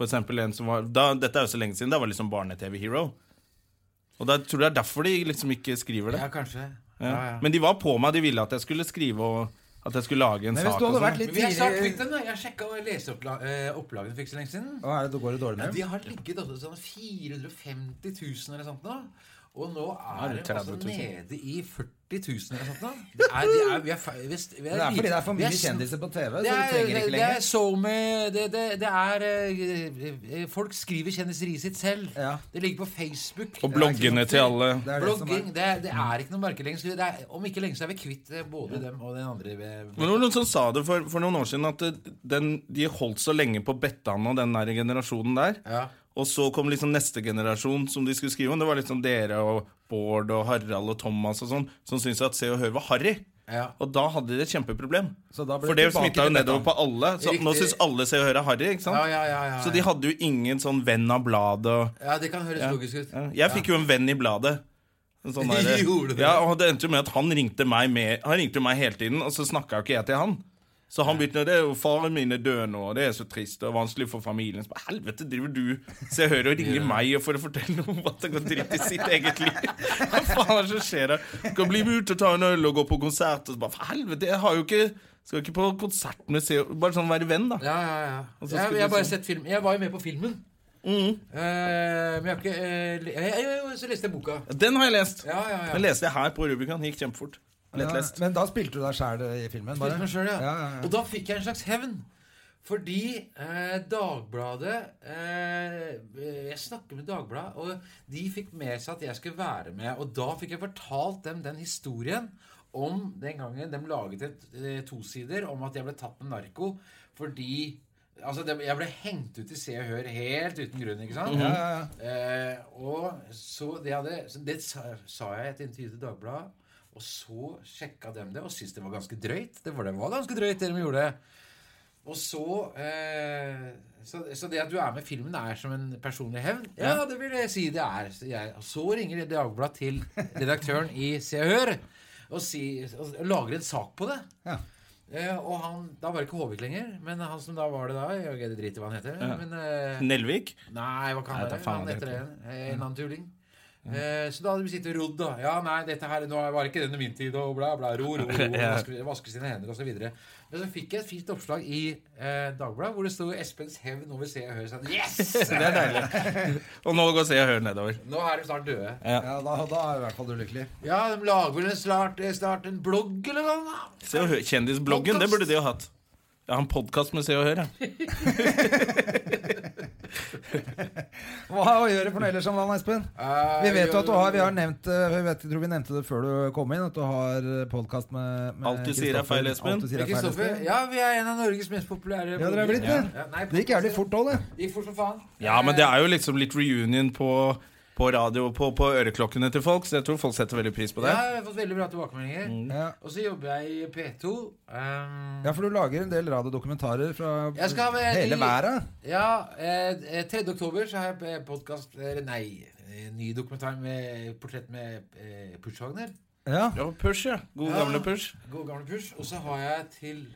Speaker 1: For eksempel en som var da, Dette er jo så lenge siden. Da var det liksom Barne-TV-hero. Og da tror jeg det er derfor de liksom ikke skriver det.
Speaker 3: Ja, kanskje.
Speaker 1: Ja. Men de var på meg. De ville at jeg skulle skrive og at jeg skulle lage en
Speaker 2: Men hvis
Speaker 1: sak.
Speaker 2: du hadde
Speaker 1: og sånn.
Speaker 2: vært litt
Speaker 3: Men jeg sa kvitt
Speaker 2: tidlig
Speaker 3: den, da. Jeg sjekka leseopplagene eh, for ikke så lenge siden.
Speaker 2: Å, er det, går det dårlig
Speaker 3: Ja,
Speaker 2: med
Speaker 3: de
Speaker 2: dem?
Speaker 3: har ligget oppe til sånn 450 000 eller sånt nå. Og nå er
Speaker 1: det
Speaker 3: det altså
Speaker 1: 30 000.
Speaker 3: nede i 40 000 eller sånt nå. Det er, de er, vi er, fe- vi er,
Speaker 2: Det er fordi det er for
Speaker 3: vi
Speaker 2: mye
Speaker 3: sn-
Speaker 2: kjendiser på TV, så
Speaker 3: Det
Speaker 2: du
Speaker 3: er,
Speaker 2: trenger
Speaker 3: det,
Speaker 2: ikke
Speaker 3: det er
Speaker 2: lenger.
Speaker 3: SoMe det, det, det er eh, eh, Folk skriver kjendiseriet sitt selv.
Speaker 2: Ja.
Speaker 3: Det ligger på Facebook.
Speaker 1: Og bloggene til alle.
Speaker 2: Det er det som
Speaker 3: Blogging,
Speaker 2: er.
Speaker 3: det, er- det er ikke noe merke lenger. så Det er, om ikke lenge så er vi kvitt eh, både dem og den andre. eh,
Speaker 1: Men det var noen som sa det for, for noen år siden, at det, den, de holdt så lenge på Bettan og den der generasjonen der.
Speaker 3: Ja.
Speaker 1: Og så kom liksom neste generasjon som de skulle skrive om. Det var liksom dere og Bård og Harald og Thomas og sånn, som syntes at Se og Hør var harry.
Speaker 3: Ja.
Speaker 1: Og da hadde de et kjempeproblem.
Speaker 2: Så da ble
Speaker 1: For
Speaker 2: det
Speaker 1: det
Speaker 2: tilbake
Speaker 1: smitta jo
Speaker 2: til
Speaker 1: nedover på alle. Så nå
Speaker 3: Riktig.
Speaker 1: syns alle Se og Hør er harry, ikke sant?
Speaker 3: Ja, ja, ja, ja,
Speaker 1: Så de
Speaker 3: ja.
Speaker 1: hadde jo ingen sånn venn av bladet og
Speaker 3: ja, det kan høres logisk ut.
Speaker 1: ja. Jeg fikk jo en venn i bladet. En Sånn der,
Speaker 3: Gjorde du?
Speaker 1: ja, og det endte jo med at han ringte meg, med, han ringte jo meg hele tiden, og så snakka jo ikke jeg til han. Så han begynte det er jo faren min er død nå, og det er så trist og vanskelig for familien. Så bare, helvete driver du Så jeg hører og ringer meg for å fortelle noe om at det går dritt i sitt eget liv. Hva faen er det som skjer her? Skal bli med ut og ta en øl og gå på konsert. Og så bare, for helvete, jeg har jo ikke Skal ikke på konsert med CO. Bare sånn være venn, da.
Speaker 3: Ja, ja, ja.
Speaker 1: så
Speaker 3: Jeg,
Speaker 1: skulle
Speaker 3: jeg, har
Speaker 1: du
Speaker 3: bare
Speaker 1: sånn-
Speaker 3: sett film. jeg var jo med på filmen.
Speaker 1: Mm.
Speaker 3: Eh, men jeg har ikke eh, le- jeg, jeg, jeg, Så leste jeg boka.
Speaker 1: Den har jeg lest.
Speaker 3: Ja, ja, ja.
Speaker 1: Den leste jeg her på Rubicon. Gikk kjempefort.
Speaker 2: Ja,
Speaker 1: Lettlest.
Speaker 2: men da spilte du deg sjæl i filmen?
Speaker 3: Spilte meg selv, ja.
Speaker 2: Ja, Mm. ja, ja.
Speaker 3: Og da fikk jeg en slags hevn. Fordi eh, Dagbladet eh, Jeg snakker med Dagbladet, og de fikk med seg at jeg skulle være med. Og da fikk jeg fortalt dem den historien om den gangen de laget et eh, tosider om at jeg ble tatt med narko fordi Altså, det, jeg ble hengt ut i Se og Hør helt uten grunn, ikke sant?
Speaker 2: Ja, ja, ja.
Speaker 3: Eh, og så det, hadde, så det sa, sa jeg i et intervju til Dagbladet. Og så sjekka dem det og syntes det var ganske drøyt. Det var, det var ganske drøyt, det de gjorde. Og så, eh, så Så det at du er med i filmen, er som en personlig hevn? Ja, det vil jeg si det er. Så, jeg, og så ringer Dagbladet til redaktøren i Se og Hør og, si, og lager en sak på det.
Speaker 2: Ja.
Speaker 3: Eh, og han, Da var det ikke Håvik lenger, men han som da var det da Jeg driter i hva han heter. Men, eh,
Speaker 1: Nelvik.
Speaker 3: Nei, hva kan
Speaker 1: Nei,
Speaker 3: det
Speaker 1: da
Speaker 3: være?
Speaker 1: faen
Speaker 3: Han
Speaker 1: det
Speaker 3: heter
Speaker 1: er
Speaker 3: det. En annen tulling. Eh, så da hadde vi sittet og rodd, da. Ja, nei, dette her nå var ikke denne min tid, og bla, bla, ro, ro, ro,
Speaker 1: Ja.
Speaker 3: vaske, vaske sine hender, og så videre. Men så fikk jeg et fint oppslag i eh, Dagbladet, hvor det sto 'Espens hevn over Se og Hør'. Så jeg, yes!
Speaker 1: Det er deilig. Og nå går Se og Hør nedover.
Speaker 3: Nå er de snart døde.
Speaker 2: ja da, da er i hvert fall du lykkelig.
Speaker 3: Ja, de lager vel snart, eh, snart en blogg eller noe? da?
Speaker 1: Se og Hør, Kjendisbloggen, det burde de jo hatt. Jeg har en podkast med Se og Hør. jeg.
Speaker 2: Hva gjør du for noe ellers om dagen, Espen?
Speaker 3: Eh,
Speaker 2: Vi vet jo at du har, vi har
Speaker 3: jo-
Speaker 2: nevnt eh, vi vet, Jeg tror vi nevnte det før du kom inn, at du har podkast med, med
Speaker 1: Alt du sier er
Speaker 2: Kristoffer.
Speaker 1: feil, Espen.
Speaker 2: Alt du sier er feil,
Speaker 3: Kristoffer,
Speaker 2: Espen.
Speaker 3: ja, vi er en av Norges mest populære
Speaker 2: Ja, dere er blitt
Speaker 3: bloggere.
Speaker 2: det.
Speaker 3: Ja, nei,
Speaker 2: Det gikk jævlig fort òg, det.
Speaker 3: Gikk fort som faen.
Speaker 1: Ja, men det er jo liksom litt reunion på, på radio og på, på øreklokkene til folk, så jeg tror folk setter veldig pris på det.
Speaker 3: Ja, jeg har fått veldig bra tilbakemeldinger.
Speaker 1: Mm.
Speaker 2: Ja.
Speaker 3: Og så jobber jeg i P2. ehm,
Speaker 2: ja, for du lager en del radiodokumentarer fra
Speaker 3: Jeg skal ha-
Speaker 2: hele
Speaker 3: de-
Speaker 2: verden.
Speaker 3: ja, eh, 3. oktober så har jeg podkast Nei, eh, ny dokumentar med portrett med eh, Push Wagner.
Speaker 2: Ja.
Speaker 1: Ja, push, ja. God
Speaker 3: Ja.
Speaker 1: gamle push.
Speaker 3: God gamle Push. Og så har jeg til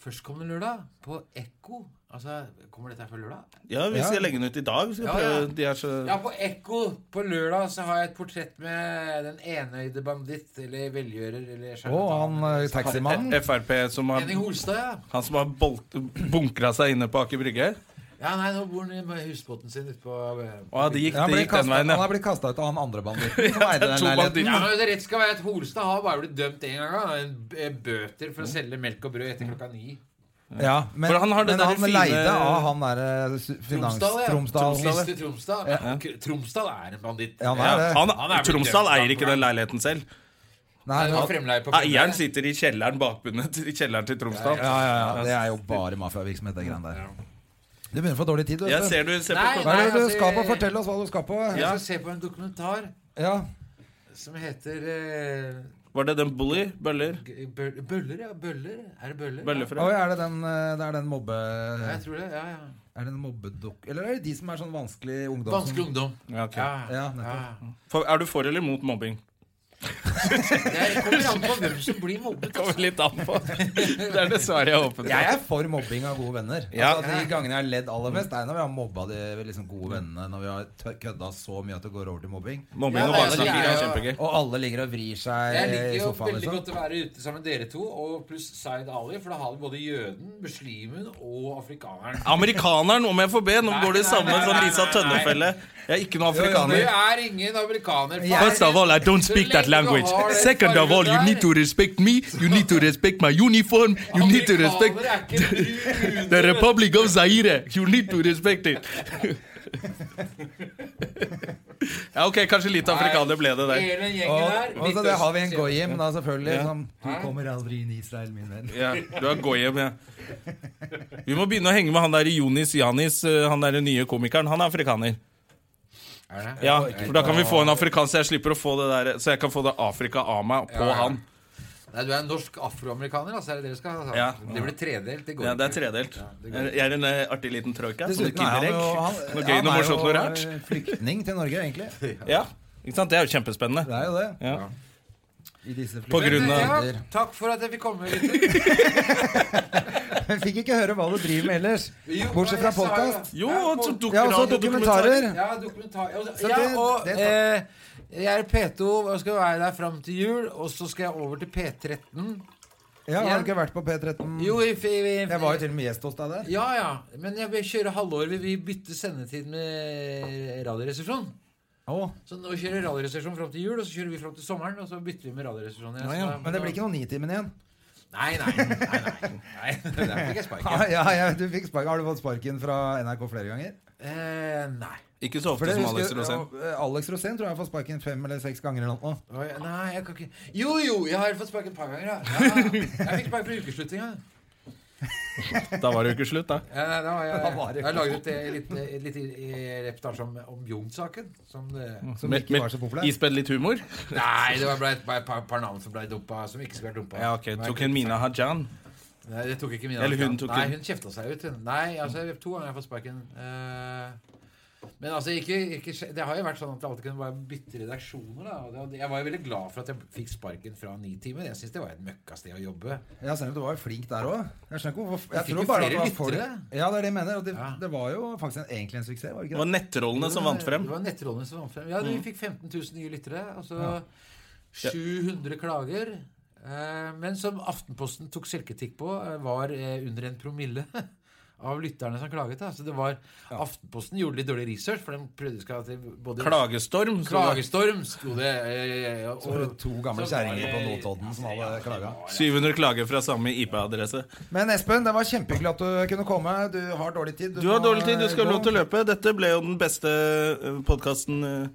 Speaker 3: førstkommende lørdag på Ekko Altså, Kommer dette her før lørdag?
Speaker 1: Ja, vi skal legge den ut i dag. Vi skal
Speaker 3: Ja, ja.
Speaker 1: prøve. De er så
Speaker 3: Ja, på Ekko på lørdag så har jeg et portrett med den enøyde banditt eller velgjører eller
Speaker 2: Og han eh,
Speaker 3: sjarlatan.
Speaker 2: taximannen.
Speaker 1: Frp som har,
Speaker 3: Henning Holstad, ja.
Speaker 1: han som har bolt, bunkra seg inne på Aker Brygge.
Speaker 3: Ja, nei, nå bor han i- med husbåten sin ute på eh,
Speaker 1: Å, det gikk,
Speaker 2: Ja, han,
Speaker 1: det
Speaker 2: ble
Speaker 1: gikk den
Speaker 2: kastet,
Speaker 1: veien,
Speaker 2: han
Speaker 1: ja.
Speaker 2: er blitt kasta ut av han andre banditten som eide den
Speaker 1: to
Speaker 2: leiligheten.
Speaker 1: banditter.
Speaker 3: Ja, men det rett skal være at Holstad har bare blitt dømt én gang. da. En b- eh, Bøter for å selge melk og brød etter klokka ni.
Speaker 2: Ja, men
Speaker 1: For han har det
Speaker 2: men
Speaker 1: der
Speaker 2: han
Speaker 1: fine-
Speaker 2: leide av han derre finans...
Speaker 3: Tromsdal, ja.
Speaker 2: Tromsdal.
Speaker 1: Tromsdal.
Speaker 3: Mr. Tromsdal. K- Tromsdal er en banditt.
Speaker 2: Ja, han
Speaker 1: ja.
Speaker 2: er det.
Speaker 1: Han,
Speaker 3: Han er blitt
Speaker 1: Tromsdal
Speaker 3: dømt,
Speaker 1: eier
Speaker 3: da.
Speaker 1: ikke den leiligheten selv.
Speaker 2: Nei,
Speaker 3: Han
Speaker 2: ja,
Speaker 3: var fremleie på
Speaker 1: Eieren
Speaker 3: fremleie.
Speaker 1: sitter i kjelleren bakbundet i kjelleren til Tromsdal.
Speaker 2: ja, ja, det er jo bare mafiavirksomhet, det greiene der. Du begynner å få dårlig tid, du.
Speaker 1: Jeg
Speaker 2: vet du.
Speaker 1: ser du ser på
Speaker 3: Nei,
Speaker 1: klokka.
Speaker 2: Hva er det
Speaker 3: Nei,
Speaker 2: du skal på?
Speaker 3: altså,
Speaker 2: Fortell oss hva du skal på.
Speaker 3: Jeg skal se på en dokumentar
Speaker 2: Ja.
Speaker 3: som heter eh,
Speaker 1: Var det den Bully? Bøller?
Speaker 3: Bøller, bøller, ja. Bøller. Er det bøller?
Speaker 1: Bøllefrø?
Speaker 2: Oi, er det den, eh, det er den mobbe...
Speaker 3: Ja, jeg tror det. Ja, ja.
Speaker 2: Er det en mobbedukk? Eller er det de som er sånn vanskelig ungdom? som-
Speaker 3: Vanskelig ungdom.
Speaker 1: Ja, ok.
Speaker 2: Ja,
Speaker 3: Ja, ja.
Speaker 2: nettopp.
Speaker 1: For, er du for eller mot mobbing?
Speaker 3: Det kommer an på hvem som blir mobbet. altså.
Speaker 1: Kommer litt an på. Det er det svaret jeg håpet på.
Speaker 2: Jeg er for mobbing av gode venner.
Speaker 1: Ja.
Speaker 2: Altså, de gangene jeg har ledd aller mest,
Speaker 3: Mm.
Speaker 2: det er når vi har mobba de liksom, gode vennene. Når vi har tø- kødda så mye at det går over til mobbing.
Speaker 1: Mobbing og
Speaker 3: Ja,
Speaker 2: altså,
Speaker 1: barnesnakking
Speaker 3: jeg
Speaker 1: er
Speaker 3: er-
Speaker 1: kjempegøy.
Speaker 2: Og alle ligger og vrir seg
Speaker 3: Jeg liker
Speaker 2: i
Speaker 3: jo
Speaker 2: sofaen.
Speaker 3: veldig
Speaker 2: Liksom.
Speaker 3: godt å være ute sammen med dere to, og pluss Zaid Ali, for da har vi både jøden, muslimen og afrikaneren.
Speaker 1: Amerikaneren, om jeg får be. Nå
Speaker 3: Nei,
Speaker 1: går det i
Speaker 3: nei,
Speaker 1: samme
Speaker 3: nei,
Speaker 1: sånn
Speaker 3: nei,
Speaker 1: Lisa
Speaker 3: nei, nei.
Speaker 1: Tønnefelle. Jeg er ikke noen
Speaker 3: Du
Speaker 1: afrikaner.
Speaker 3: er ingen amerikaner.
Speaker 2: Jeg-
Speaker 1: First of all, I don't
Speaker 3: Så
Speaker 1: speak that
Speaker 3: lenge du
Speaker 1: language.
Speaker 3: har den
Speaker 1: Second of all, you
Speaker 3: fargen
Speaker 1: need to respect me. You need to respect my uniform. You need to respect
Speaker 3: Amerikanere er ikke brune.
Speaker 1: the Republic of Zaire. You need to respect it. ja, ok, kanskje litt afrikaner ble det der.
Speaker 3: Hele den
Speaker 2: Og,
Speaker 3: gjengen der.
Speaker 2: og så det har vi en
Speaker 3: Midtøsten-
Speaker 2: goyim, da, selvfølgelig.
Speaker 1: Ja.
Speaker 2: Som, du kommer aldri inn i Israel, min venn.
Speaker 1: Ja, du er goyim, ja. Vi må begynne å henge med han der Jonis Janis, eh, han der nye komikeren. Han er afrikaner.
Speaker 3: Er det?
Speaker 1: Ja, for da kan vi få en afrikaner, så jeg slipper å få det der Så jeg kan få det Afrika av meg på
Speaker 3: Ja, ja.
Speaker 1: han.
Speaker 3: Nei, du er en norsk afroamerikaner, altså. Er det det dere skal ha?
Speaker 1: Ja.
Speaker 3: Det blir tredelt. Det går
Speaker 1: Ja, det er
Speaker 3: ikke.
Speaker 1: tredelt.
Speaker 3: Ja, det går ikke.
Speaker 1: Jeg er en eh, artig liten troika. Sånne
Speaker 2: Dessuten er han
Speaker 1: kinderegg.
Speaker 2: jo han,
Speaker 1: Noe gøy, noe morsomt, noe
Speaker 2: han er
Speaker 1: rart.
Speaker 2: jo flyktning til Norge, egentlig.
Speaker 1: Ja, ikke sant? Det er jo
Speaker 2: Det
Speaker 1: kjempespennende.
Speaker 2: er jo det.
Speaker 1: Ja.
Speaker 2: I disse
Speaker 1: På
Speaker 2: flyktninger.
Speaker 1: grunn av-
Speaker 3: Ja, takk for at jeg fikk komme. gutter.
Speaker 2: Jeg fikk ikke høre hva du driver med ellers.
Speaker 3: Jo,
Speaker 2: Bortsett fra
Speaker 3: jeg sa jo-
Speaker 2: podkast.
Speaker 1: Jo,
Speaker 3: Ja,
Speaker 1: og så
Speaker 3: pod-
Speaker 1: duk-
Speaker 2: Ja, også
Speaker 1: radio-
Speaker 2: dokumentarer.
Speaker 3: Ja, dokumentar. Ja,
Speaker 2: Så
Speaker 3: ja,
Speaker 2: det-
Speaker 3: og
Speaker 2: det
Speaker 3: eh, jeg er P2 og skal være der fram til jul, og så skal jeg over til P13.
Speaker 2: Ja, har du ikke vært på P13?
Speaker 3: Jo, i, i, i,
Speaker 2: Mm. Jeg var jo til og med gjest hos deg der.
Speaker 3: Ja, ja. Men jeg vil kjøre halvår. Vi, vi bytter sendetid med Radioresepsjonen.
Speaker 2: Å,
Speaker 3: Så nå kjører Radioresepsjonen fram til jul, og så kjører vi fram til sommeren, og så bytter vi med Radioresepsjonen. igjen.
Speaker 1: Ja, ja.
Speaker 3: Så da-
Speaker 2: Men det blir ikke noe Nitimen igjen.
Speaker 3: Nei, nei. nei, nei, nei. Der fikk jeg sparken.
Speaker 2: Ja, ja, ja, du fikk spark. Har du fått sparken fra NRK flere ganger?
Speaker 3: Eh, nei.
Speaker 1: Ikke så ofte
Speaker 2: For det
Speaker 1: som
Speaker 2: husker-
Speaker 1: Alex Rosén.
Speaker 2: ja, eh, Alex Rosén tror jeg har fått sparken fem eller seks ganger. eller noe.
Speaker 3: Oi, nei, jeg kan ikke Jo, jo, jeg har fått sparken et par ganger. Ja. Ja, ja. jeg fikk sparken fra ukesslutninga.
Speaker 1: Da var det jo ikke slutt, da.
Speaker 3: Ja, nei, da var jeg,
Speaker 2: Da var det
Speaker 3: jeg laget et lite, et lite eh, reportasje om, om Jung-saken. Som det,
Speaker 2: Som
Speaker 1: Med-
Speaker 2: ikke
Speaker 1: med
Speaker 2: var så populær.
Speaker 1: Ispedd litt humor?
Speaker 3: nei, det var bare et bare et par, par navn som ble dumpa, som ikke skulle vært dumpa.
Speaker 1: Ja, ok.
Speaker 3: Nei,
Speaker 1: Tok en Mina Hajan.
Speaker 3: Nei, det tok ikke min
Speaker 1: Eller hun tok
Speaker 3: advokat. Nei,
Speaker 1: den.
Speaker 3: hun kjefta seg ut. hun. Nei, altså, jeg- to ganger har jeg fått sparken. Eh, men altså, ikke, ikke, skje- det har jo vært sånn at det alltid kunne være bytte redaksjoner. Da. og det- og det- Jeg var jo veldig glad for at jeg fikk sparken fra ni timer. Jeg syns det var et møkkasted å jobbe.
Speaker 2: Ja, selv om du var jo flink der òg. Jeg skjønner ikke hvorfor jeg
Speaker 3: fikk
Speaker 2: tror
Speaker 3: jo
Speaker 2: bare at
Speaker 3: flere
Speaker 2: det var folk-
Speaker 3: lyttere.
Speaker 2: Ja, det er det jeg mener. Og det,
Speaker 3: Ja.
Speaker 2: det var jo faktisk en, egentlig en suksess, var det
Speaker 1: Det
Speaker 2: ikke
Speaker 1: var
Speaker 2: det?
Speaker 1: nettrollene som vant
Speaker 3: Det
Speaker 1: frem. Mm.
Speaker 3: var nettrollene som vant frem. Ja, vi fikk 15 000 nye lyttere. Og så 700 klager. Eh, men som Aftenposten tok selvkritikk på, eh, var eh, under en promille. Av lytterne som klaget. Da. Så det var, Aftenposten gjorde litt dårlig research. For de prøvde skal at de både
Speaker 1: Klagestorm. så det-
Speaker 3: Klagestorm, sto det. eh, Og,
Speaker 2: Så var det to gamle
Speaker 3: så var det-
Speaker 2: kjerringer på Notodden som hadde klaga.
Speaker 1: 700 klager fra samme IP-adresse.
Speaker 2: Men Espen, det var kjempehyggelig at du kunne komme. Du har dårlig tid.
Speaker 1: Du har dårlig tid, du skal ha lov til å løpe. Dette ble jo den beste eh, podkasten eh,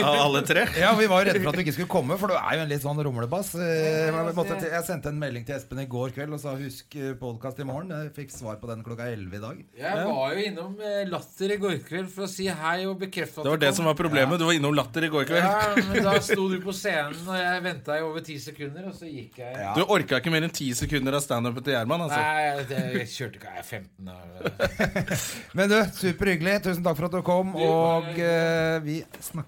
Speaker 1: av alle tre.
Speaker 2: Ja, Vi var jo redde for at du ikke skulle komme, for du er jo en litt sånn rumlebass. Eh, Jeg, måtte, jeg sendte en melding til Espen i går kveld og sa 'husk podkast i morgen'. Jeg fikk svar på den klokka 11 i dag.
Speaker 3: Jeg var jo innom eh, Latter i går kveld for å si hei og bekrefte at
Speaker 1: Det var det som var problemet. Du var innom latter i går kveld.
Speaker 3: Ja, men da sto du på scenen, og jeg venta i over ti sekunder, og så gikk jeg.
Speaker 2: Ja.
Speaker 1: Du orka ikke mer enn ti sekunder av standupen til Gjerman, altså.
Speaker 3: Nei, jeg, jeg kjørte ikke Jeg er 15 år.
Speaker 2: Men du, superhyggelig. Tusen takk for at du kom, og eh, vi snakkes.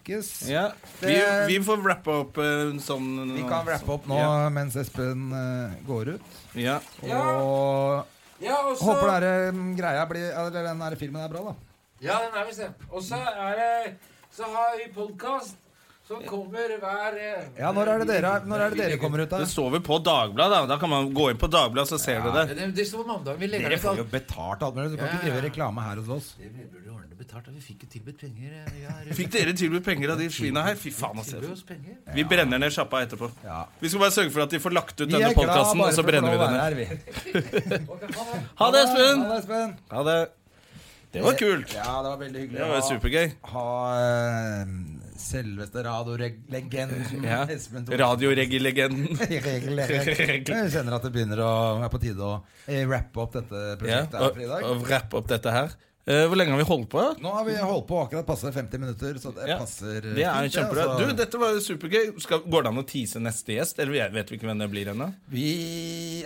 Speaker 1: Ja. Vi, vi får wrappe opp eh, sånn
Speaker 2: Vi kan wrappe opp nå
Speaker 1: Ja.
Speaker 2: mens Espen eh, går ut.
Speaker 1: Ja.
Speaker 2: Og
Speaker 3: Ja, og så
Speaker 2: håper den eh, greia blir Eller den her filmen er bra, da.
Speaker 3: Ja, den er visst det. Og så er det Så har vi podkast som kommer hver eh,
Speaker 2: Ja, når er det dere, når er det dere kommer ut, da?
Speaker 1: Det står vel på Dagbladet, da. Da kan man gå inn på Dagbladet, så ser du det.
Speaker 3: Det, det står mandag. Vi legger
Speaker 2: Dere
Speaker 3: det
Speaker 2: får jo
Speaker 3: ut.
Speaker 2: betalt alt mulig. Du kan
Speaker 3: Ja,
Speaker 2: ikke
Speaker 3: ja, ja.
Speaker 2: drive reklame her hos oss.
Speaker 3: Det burde jo ordne betalt. da. Vi fikk jo tilbudt penger. eh, Ja,
Speaker 1: Fikk dere tilbudt penger av de svina her? Fy faen,
Speaker 3: tilbød
Speaker 1: altså.
Speaker 3: oss penger.
Speaker 1: Vi brenner ned sjappa etterpå.
Speaker 2: Ja.
Speaker 1: Vi skal bare sørge for at de får lagt ut
Speaker 2: Vi
Speaker 1: denne
Speaker 2: er glad
Speaker 1: podkasten,
Speaker 2: bare
Speaker 1: og så
Speaker 2: for å få
Speaker 1: brenner vi
Speaker 2: lov å
Speaker 1: den ned.
Speaker 2: være her, vi.
Speaker 3: Ok, ha
Speaker 1: Ha
Speaker 3: det.
Speaker 1: det, Espen!
Speaker 2: Ha det, Espen.
Speaker 1: Ha det. Det var kult.
Speaker 2: Ja, det var veldig hyggelig.
Speaker 1: Det var
Speaker 2: å ha-
Speaker 1: supergøy.
Speaker 2: Ha eh, selveste radiolegenden
Speaker 1: Ja.
Speaker 2: Espen Thoresen.
Speaker 1: Radioreggelegenden.
Speaker 2: Jeg kjenner at det begynner å er på tide å eh, rappe opp dette
Speaker 1: Ja,
Speaker 2: prosjektet her
Speaker 1: og,
Speaker 2: for i dag.
Speaker 1: og wrappe opp dette her. Eh, hvor lenge har vi holdt på?
Speaker 2: Nå har vi holdt på akkurat passe 50 minutter, så det
Speaker 1: Ja.
Speaker 2: passer
Speaker 1: Det er jo
Speaker 2: fint,
Speaker 1: kjempebra.
Speaker 2: altså.
Speaker 1: Du, dette var jo supergøy. Skal, går det an å tease neste gjest? Eller vi- vet vi ikke hvem det blir ennå?
Speaker 2: Vi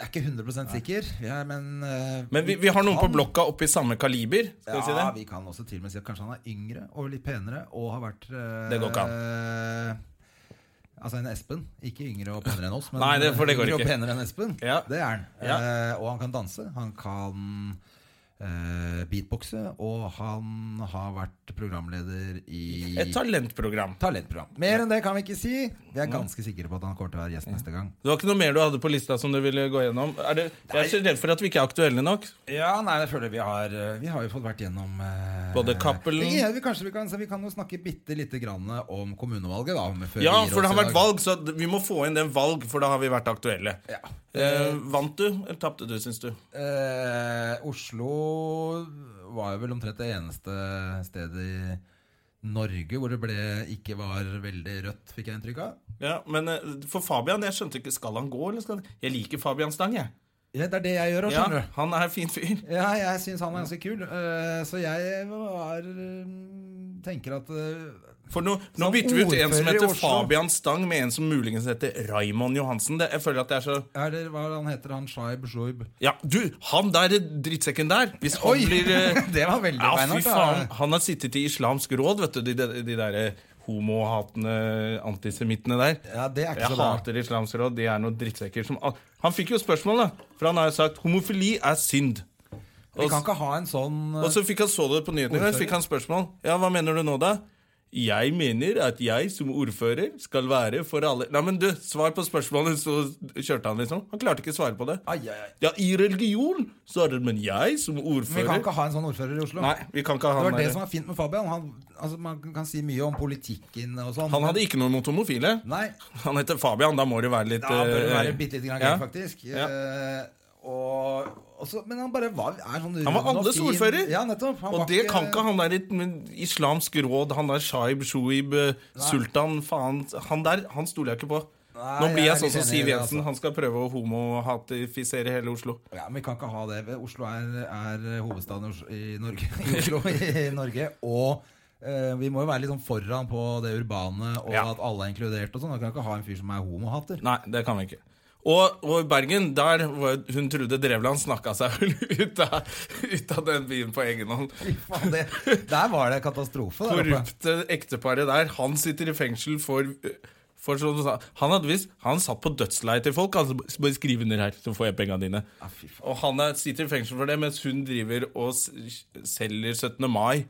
Speaker 2: er ikke 100 sikre, men eh,
Speaker 1: Men vi, vi har noen på
Speaker 2: kan-
Speaker 1: blokka oppe i samme kaliber. Skal vi si det?
Speaker 2: Ja, vi kan også til og med si at kanskje han er yngre og litt penere og har vært eh,
Speaker 1: Det går ikke
Speaker 2: Altså en Espen. Ikke yngre og penere enn oss, men
Speaker 1: Nei, det- for det går
Speaker 2: yngre og
Speaker 1: ikke.
Speaker 2: penere enn Espen.
Speaker 1: Ja.
Speaker 2: Det er han.
Speaker 1: Ja.
Speaker 2: Eh, og han kan danse. Han kan eh, beatboxe, og han har vært programleder i
Speaker 1: Et talentprogram.
Speaker 2: talentprogram. Mer enn det kan vi ikke si. Vi
Speaker 1: Mm.
Speaker 2: er ganske sikre på at han kommer til å være gjest neste gang.
Speaker 1: Det var ikke noe mer du hadde på lista som du ville gå gjennom? Er det, jeg er så redd for at vi ikke er aktuelle nok.
Speaker 2: Ja, nei, jeg føler vi har eh, Vi har jo fått vært gjennom eh,
Speaker 1: Både Cappelen-
Speaker 2: Ja, vi, kanskje vi kan, så vi kan jo snakke bitte lite grann om kommunevalget, da. om- før
Speaker 1: Ja,
Speaker 2: vi gir
Speaker 1: for det
Speaker 2: oss
Speaker 1: har
Speaker 2: i
Speaker 1: vært
Speaker 2: dag.
Speaker 1: valg, så vi må få inn den valg, for da har vi vært aktuelle.
Speaker 2: Ja.
Speaker 1: Eh, vant du, eller tapte du, syns du?
Speaker 2: Eh, Oslo var jo vel omtrent det eneste stedet i Norge hvor det ble, ikke var veldig rødt, fikk jeg inntrykk av.
Speaker 1: Ja, Men eh, for Fabian, jeg skjønte ikke Skal han gå, eller skal han Jeg liker Fabian Stang, jeg.
Speaker 2: Ja, det er det jeg gjør òg,
Speaker 1: Ja,
Speaker 2: skjønner du.
Speaker 1: han er en fin fyr.
Speaker 2: Ja, jeg syns han er ganske kul, eh, så jeg var mm, Tenker at eh,
Speaker 1: For nå, nå
Speaker 2: Som
Speaker 1: bytter vi ut en som
Speaker 2: ordfører i
Speaker 1: heter
Speaker 2: Oslo.
Speaker 1: Fabian Stang, med en som muligens heter Raymond Johansen. Det, jeg føler at det er så
Speaker 2: Eller hva han heter han? Shaib Shoib?
Speaker 1: Ja, du, han der drittsekken der! Hvis han blir eh,
Speaker 2: det var veldig
Speaker 1: Ja, fy
Speaker 2: beinhardt, da.
Speaker 1: faen. Han har sittet i Islamsk råd, vet du. De, de, de der eh, homohatende antisemittene der.
Speaker 2: Ja, det er ikke
Speaker 1: Jeg
Speaker 2: så bra.
Speaker 1: hater Islamsk råd. De er noen drittsekker som al- Han fikk jo spørsmål, da. For han har jo sagt homofili er synd.
Speaker 2: Vi
Speaker 1: Og,
Speaker 2: kan ikke ha en sånn
Speaker 1: og så fikk han så det på nyhetene i dag,
Speaker 2: Ordfører.
Speaker 1: fikk han spørsmål. Ja, hva mener du nå, da? Jeg mener at jeg som ordfører skal være for alle Nei, men du, svar på spørsmålet, så kjørte han, liksom. Han klarte ikke å svare på det.
Speaker 2: Ai, ai, ai.
Speaker 1: Ja, i religion, så er det Men jeg som
Speaker 2: Vi kan
Speaker 1: ordfører
Speaker 2: ikke ha en sånn ordfører i Oslo.
Speaker 1: Nei, vi kan ikke ha
Speaker 2: det
Speaker 1: han
Speaker 2: var det
Speaker 1: der.
Speaker 2: som var fint med Fabian. Han, altså, man kan si mye om politikken og sånn.
Speaker 1: Han hadde
Speaker 2: men-
Speaker 1: ikke noe mot homofile.
Speaker 2: Nei,
Speaker 1: Han heter Fabian, da må det være litt
Speaker 2: da bør det
Speaker 1: eh,
Speaker 2: være bitte lite grann
Speaker 1: ja.
Speaker 2: gøy, faktisk.
Speaker 1: Ja.
Speaker 2: Eh, og, og så- men han bare var er sånn
Speaker 1: Han var
Speaker 2: rund og
Speaker 1: alles
Speaker 2: fin.
Speaker 1: ordfører.
Speaker 2: Ja, nettopp. Han
Speaker 1: Og
Speaker 2: var
Speaker 1: det kan ikke han der i med islamsk råd, han der Shaib, Shuib, eh, Sultan, faen Han der, han stoler jeg ikke på.
Speaker 2: Nei,
Speaker 1: Nå blir
Speaker 2: jeg er
Speaker 1: jeg sånn
Speaker 2: litt
Speaker 1: som
Speaker 2: enig i
Speaker 1: Siv
Speaker 2: det,
Speaker 1: Jensen.
Speaker 2: altså.
Speaker 1: Han skal prøve å homohatifisere hele Oslo.
Speaker 2: Ja, men Vi kan ikke ha det. Oslo er, er hovedstaden i Os- i Norge. I Oslo, i Norge og eh, vi må jo være litt sånn foran på det urbane, og
Speaker 1: Ja.
Speaker 2: at alle er inkludert. og sånn Vi kan ikke ha en fyr som er homohater.
Speaker 1: Nei, det kan vi ikke. Og, og i Bergen, der var hun Trude Drevland snakka seg vel ut av, ut av den byen på egen hånd.
Speaker 2: Fy faen, det, der var det katastrofe. Der oppe.
Speaker 1: Korrupte ekteparet der, han sitter i fengsel for for sånn, han hadde visst, han satt på dødsleiet til folk. Han sa, bare skriv under her, så får jeg pengene dine.
Speaker 2: Ja, fy faen.
Speaker 1: Og han er, sitter i fengsel for det, mens hun driver og s- selger 17. mai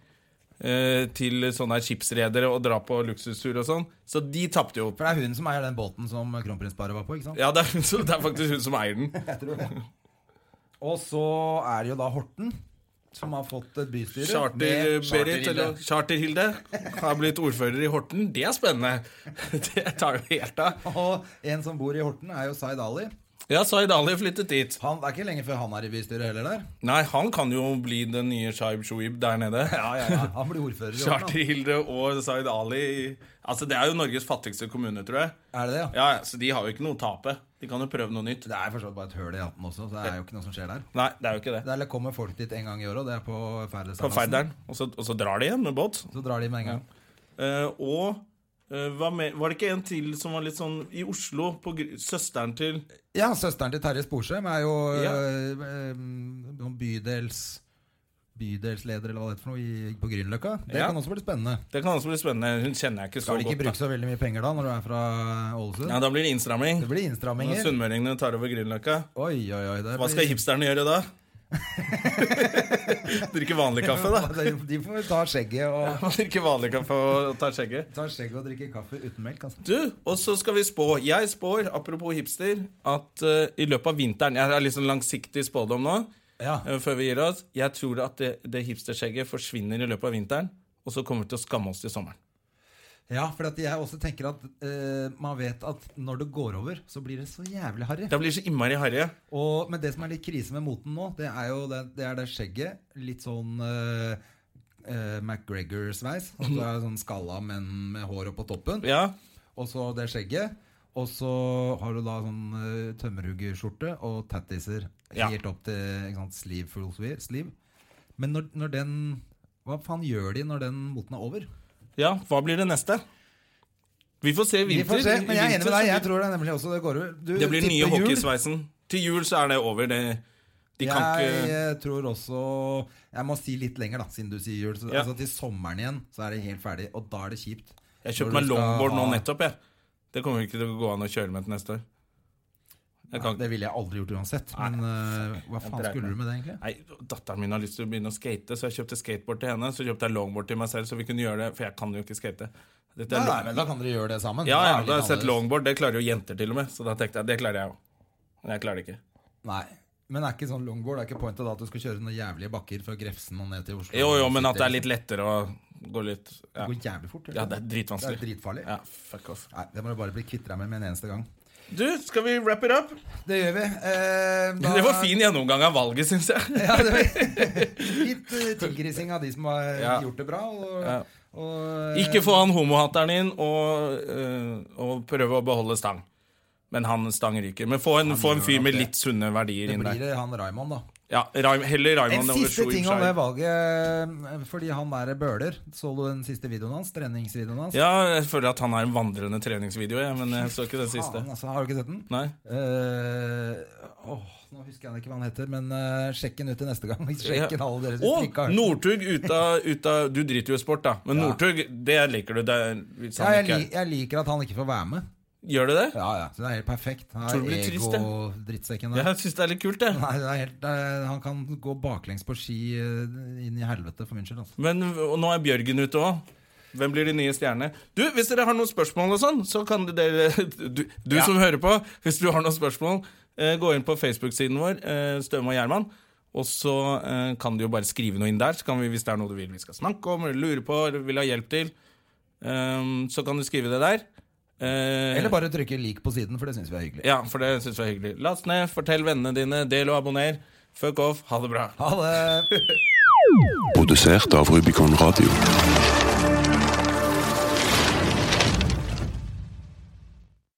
Speaker 1: eh, til sånne her skipsredere og drar på luksustur og sånn. Så de tapte jo.
Speaker 2: For det er hun som eier den båten som kronprinsparet var på. ikke sant?
Speaker 1: Ja, det er, hun som- det er faktisk hun som eier den.
Speaker 2: Jeg tror det. Og så er det jo da Horten, som har fått et bystyre. med-
Speaker 1: Charter-Berit, eh, eller Charter-Hilde, har blitt ordfører i Horten. Det er spennende! Det tar jo helt av.
Speaker 2: Og en som bor i Horten, er jo Zaid Ali.
Speaker 1: Ja, Zaid Ali flyttet dit.
Speaker 2: Han, det er ikke lenge før han er i bystyret heller der.
Speaker 1: Nei, han kan jo bli den nye Shaib Shoaib der nede.
Speaker 2: Han blir ordfører i Horten. han.
Speaker 1: Charter-Hilde og Zaid Ali Altså, det er jo Norges fattigste kommune, tror jeg.
Speaker 2: Er det det, ja?
Speaker 1: Ja, ja, Så de har jo ikke noe å tape. De kan jo prøve noe nytt.
Speaker 2: Det er forstått bare et høl i hatten også, så det er jo ikke noe som skjer der.
Speaker 1: Nei, det er jo ikke det.
Speaker 2: Der kommer folk dit en gang i året, og det er på
Speaker 1: På
Speaker 2: ferderseilasen.
Speaker 1: Færderen. Og, så- og så drar de igjen med båt.
Speaker 2: Så drar de med en gang.
Speaker 1: Eh, og eh, hva med, var det ikke en til som var litt sånn i Oslo? På gr- søsteren til
Speaker 2: Ja, søsteren til Terje Sporsem er jo
Speaker 1: Ja.
Speaker 2: øh, øh, noen bydels bydelsleder eller hva det heter for noe i, på Grünerløkka. Det
Speaker 1: Ja.
Speaker 2: kan også bli spennende.
Speaker 1: Det kan også bli spennende. Hun kjenner jeg ikke så
Speaker 2: Skal de ikke
Speaker 1: godt.
Speaker 2: bruke så veldig mye penger da når du er fra Ålesund?
Speaker 1: da. Ja, Da blir det innstramming.
Speaker 2: Det blir
Speaker 1: Når
Speaker 2: innstramminger.
Speaker 1: sunnmøringene tar over Grünerløkka.
Speaker 2: Oi, oi, oi. det
Speaker 1: Hva skal
Speaker 2: blir-
Speaker 1: hipsterne gjøre da? Drikke vanlig kaffe, da.
Speaker 2: De får ta skjegget og
Speaker 1: Man drikker vanlig kaffe og tar skjegget.
Speaker 2: Ta skjegget og drikke kaffe uten melk. Altså.
Speaker 1: Du, og så skal vi spå. Jeg spår, apropos hipster, at eh, i løpet av vinteren Jeg har litt sånn langsiktig spådom nå,
Speaker 2: Ja.
Speaker 1: eh, før vi gir oss. Jeg tror at det, det hipsterskjegget forsvinner i løpet av vinteren, og så kommer vi til å skamme oss til sommeren.
Speaker 2: ja, for at jeg også tenker at øh, man vet at når det går over, så blir det så jævlig harry.
Speaker 1: Det blir så innmari harry.
Speaker 2: Og, men det som er litt krise med moten nå, det er jo det, det, er det skjegget. Litt sånn eh, eh, McGregor-sveis. At du er sånn skalla, men med håret på toppen.
Speaker 1: Ja.
Speaker 2: Og så det skjegget. Og så har du da sånn uh, tømmerhuggerskjorte og tattiser
Speaker 1: Ja.
Speaker 2: helt opp til ikke sant, sleeve, full sleeve. sleeve. Men når, når den Hva faen gjør de når den moten er over?
Speaker 1: Ja, hva blir det neste? Vi får se i
Speaker 2: Vi
Speaker 1: vinter.
Speaker 2: får se, men jeg er enig
Speaker 1: Vinter,
Speaker 2: med
Speaker 1: så
Speaker 2: deg. Jeg
Speaker 1: blir-
Speaker 2: tror det nemlig også det går over. Du
Speaker 1: Det blir den nye
Speaker 2: tipper jul.
Speaker 1: hockeysveisen. Til jul så er det over. Det, de kan
Speaker 2: jeg
Speaker 1: ikke
Speaker 2: eh, tror også Jeg må si litt lenger, da, siden du sier jul. Så,
Speaker 1: Ja.
Speaker 2: altså, til sommeren igjen så er det helt ferdig, og da er det kjipt.
Speaker 1: Jeg
Speaker 2: Når
Speaker 1: kjøpte
Speaker 2: du
Speaker 1: meg
Speaker 2: skal
Speaker 1: longboard nå
Speaker 2: ha-
Speaker 1: nettopp, jeg. Det kommer ikke til å gå an å kjøre med til neste år. Jeg kan
Speaker 2: Det ville jeg aldri gjort uansett. Men eh, hva faen
Speaker 1: dreit
Speaker 2: skulle du med det, egentlig?
Speaker 1: Nei, Datteren min har lyst til å begynne å skate, så jeg kjøpte skateboard til henne. Så kjøpte jeg longboard til meg selv, så vi kunne gjøre det, for jeg kan jo ikke skate. Dette er
Speaker 2: Nei,
Speaker 1: long-
Speaker 2: nei, men Da kan dere gjøre det sammen.
Speaker 1: Ja, ja, da har
Speaker 2: er det
Speaker 1: jeg
Speaker 2: litt
Speaker 1: sett
Speaker 2: annerledes.
Speaker 1: longboard. Det klarer jo jenter til og med. Så da tenkte jeg det klarer jeg òg. Men jeg klarer det ikke.
Speaker 2: Nei, Men er ikke sånn longboard Det er ikke pointet da at du skal kjøre noen jævlige bakker fra Grefsen og ned til Oslo?
Speaker 1: Jo, jo, men at det er litt lettere å gå litt
Speaker 2: Det
Speaker 1: Ja,
Speaker 2: går jævlig fort. eller?
Speaker 1: ja det er
Speaker 2: det er
Speaker 1: dritvanskelig.
Speaker 2: dritfarlig.
Speaker 1: Ja, fuck off.
Speaker 2: Nei, Det må du bare bli kvitt deg med med en eneste gang.
Speaker 1: Du, skal vi wrap it up?
Speaker 2: Det gjør vi. Eh, da-
Speaker 1: Det var fin gjennomgang av valget, syns jeg.
Speaker 2: Ja, det var Litt eh, tilgrising av de som har
Speaker 1: Ja.
Speaker 2: gjort det bra. Og,
Speaker 1: Ja.
Speaker 2: og, eh,
Speaker 1: Ikke få han homohateren inn og, eh, og prøve å beholde Stang. Men han Stang ryker. Men få en, få en fyr med litt sunne verdier
Speaker 2: Det
Speaker 1: inn
Speaker 2: blir
Speaker 1: der.
Speaker 2: det han Raymond, da.
Speaker 1: Ja, Raim- Heller
Speaker 2: En
Speaker 1: Raymond over
Speaker 2: siste
Speaker 1: Shoaib
Speaker 2: ting om det
Speaker 1: Shai.
Speaker 2: valget. eh, Fordi han der Bøhler Så du den siste videoen hans? Treningsvideoen hans?
Speaker 1: Ja, jeg føler at han er en vandrende treningsvideo, jeg, men jeg så ikke den siste.
Speaker 2: Faen, altså, har du ikke sett den?
Speaker 1: Nei?
Speaker 2: Eh, åh, nå husker jeg ikke hva han heter, men eh, sjekk den ut til neste gang. Sjekk den, alle dere som
Speaker 1: Og
Speaker 2: ikke har hørt den.
Speaker 1: Northug ut av, ut av Du driter jo i sport, da. Men Northug, det liker du. Det er, hvis
Speaker 2: Ja,
Speaker 1: han
Speaker 2: jeg,
Speaker 1: ikke
Speaker 2: li- jeg liker at han ikke får være med.
Speaker 1: Gjør du det?
Speaker 2: Ja, ja, så Det er helt perfekt. Han
Speaker 1: Tror du
Speaker 2: er
Speaker 1: det blir trist, det?
Speaker 2: ego-drittsekken der.
Speaker 1: Jeg syns det er litt kult, det.
Speaker 2: Nei, det er helt, det er, han kan gå baklengs på ski eh, inn i helvete, for min skyld. Altså.
Speaker 1: Men og nå er Bjørgen ute òg. Hvem blir de nye stjernene? Du, Hvis dere har noen spørsmål, og sånn, så kan dere Du, du som hører på, hvis du har noen spørsmål, eh, gå inn på Facebook-siden vår, eh, Støme og Gjerman. Og så eh, kan du jo bare skrive noe inn der, så kan vi, hvis det er noe du vil vi skal snakke om, eller lurer på, eller vil ha hjelp til. ehm, så kan du skrive det der. Eh,
Speaker 2: Eller bare trykke 'lik' på siden, for det syns vi er hyggelig.
Speaker 1: Ja, for det syns vi er hyggelig. Last ned, fortell vennene dine, del og abonner. Fuck off, ha det bra.
Speaker 2: Ha det!
Speaker 4: Produsert av Rubicon Radio.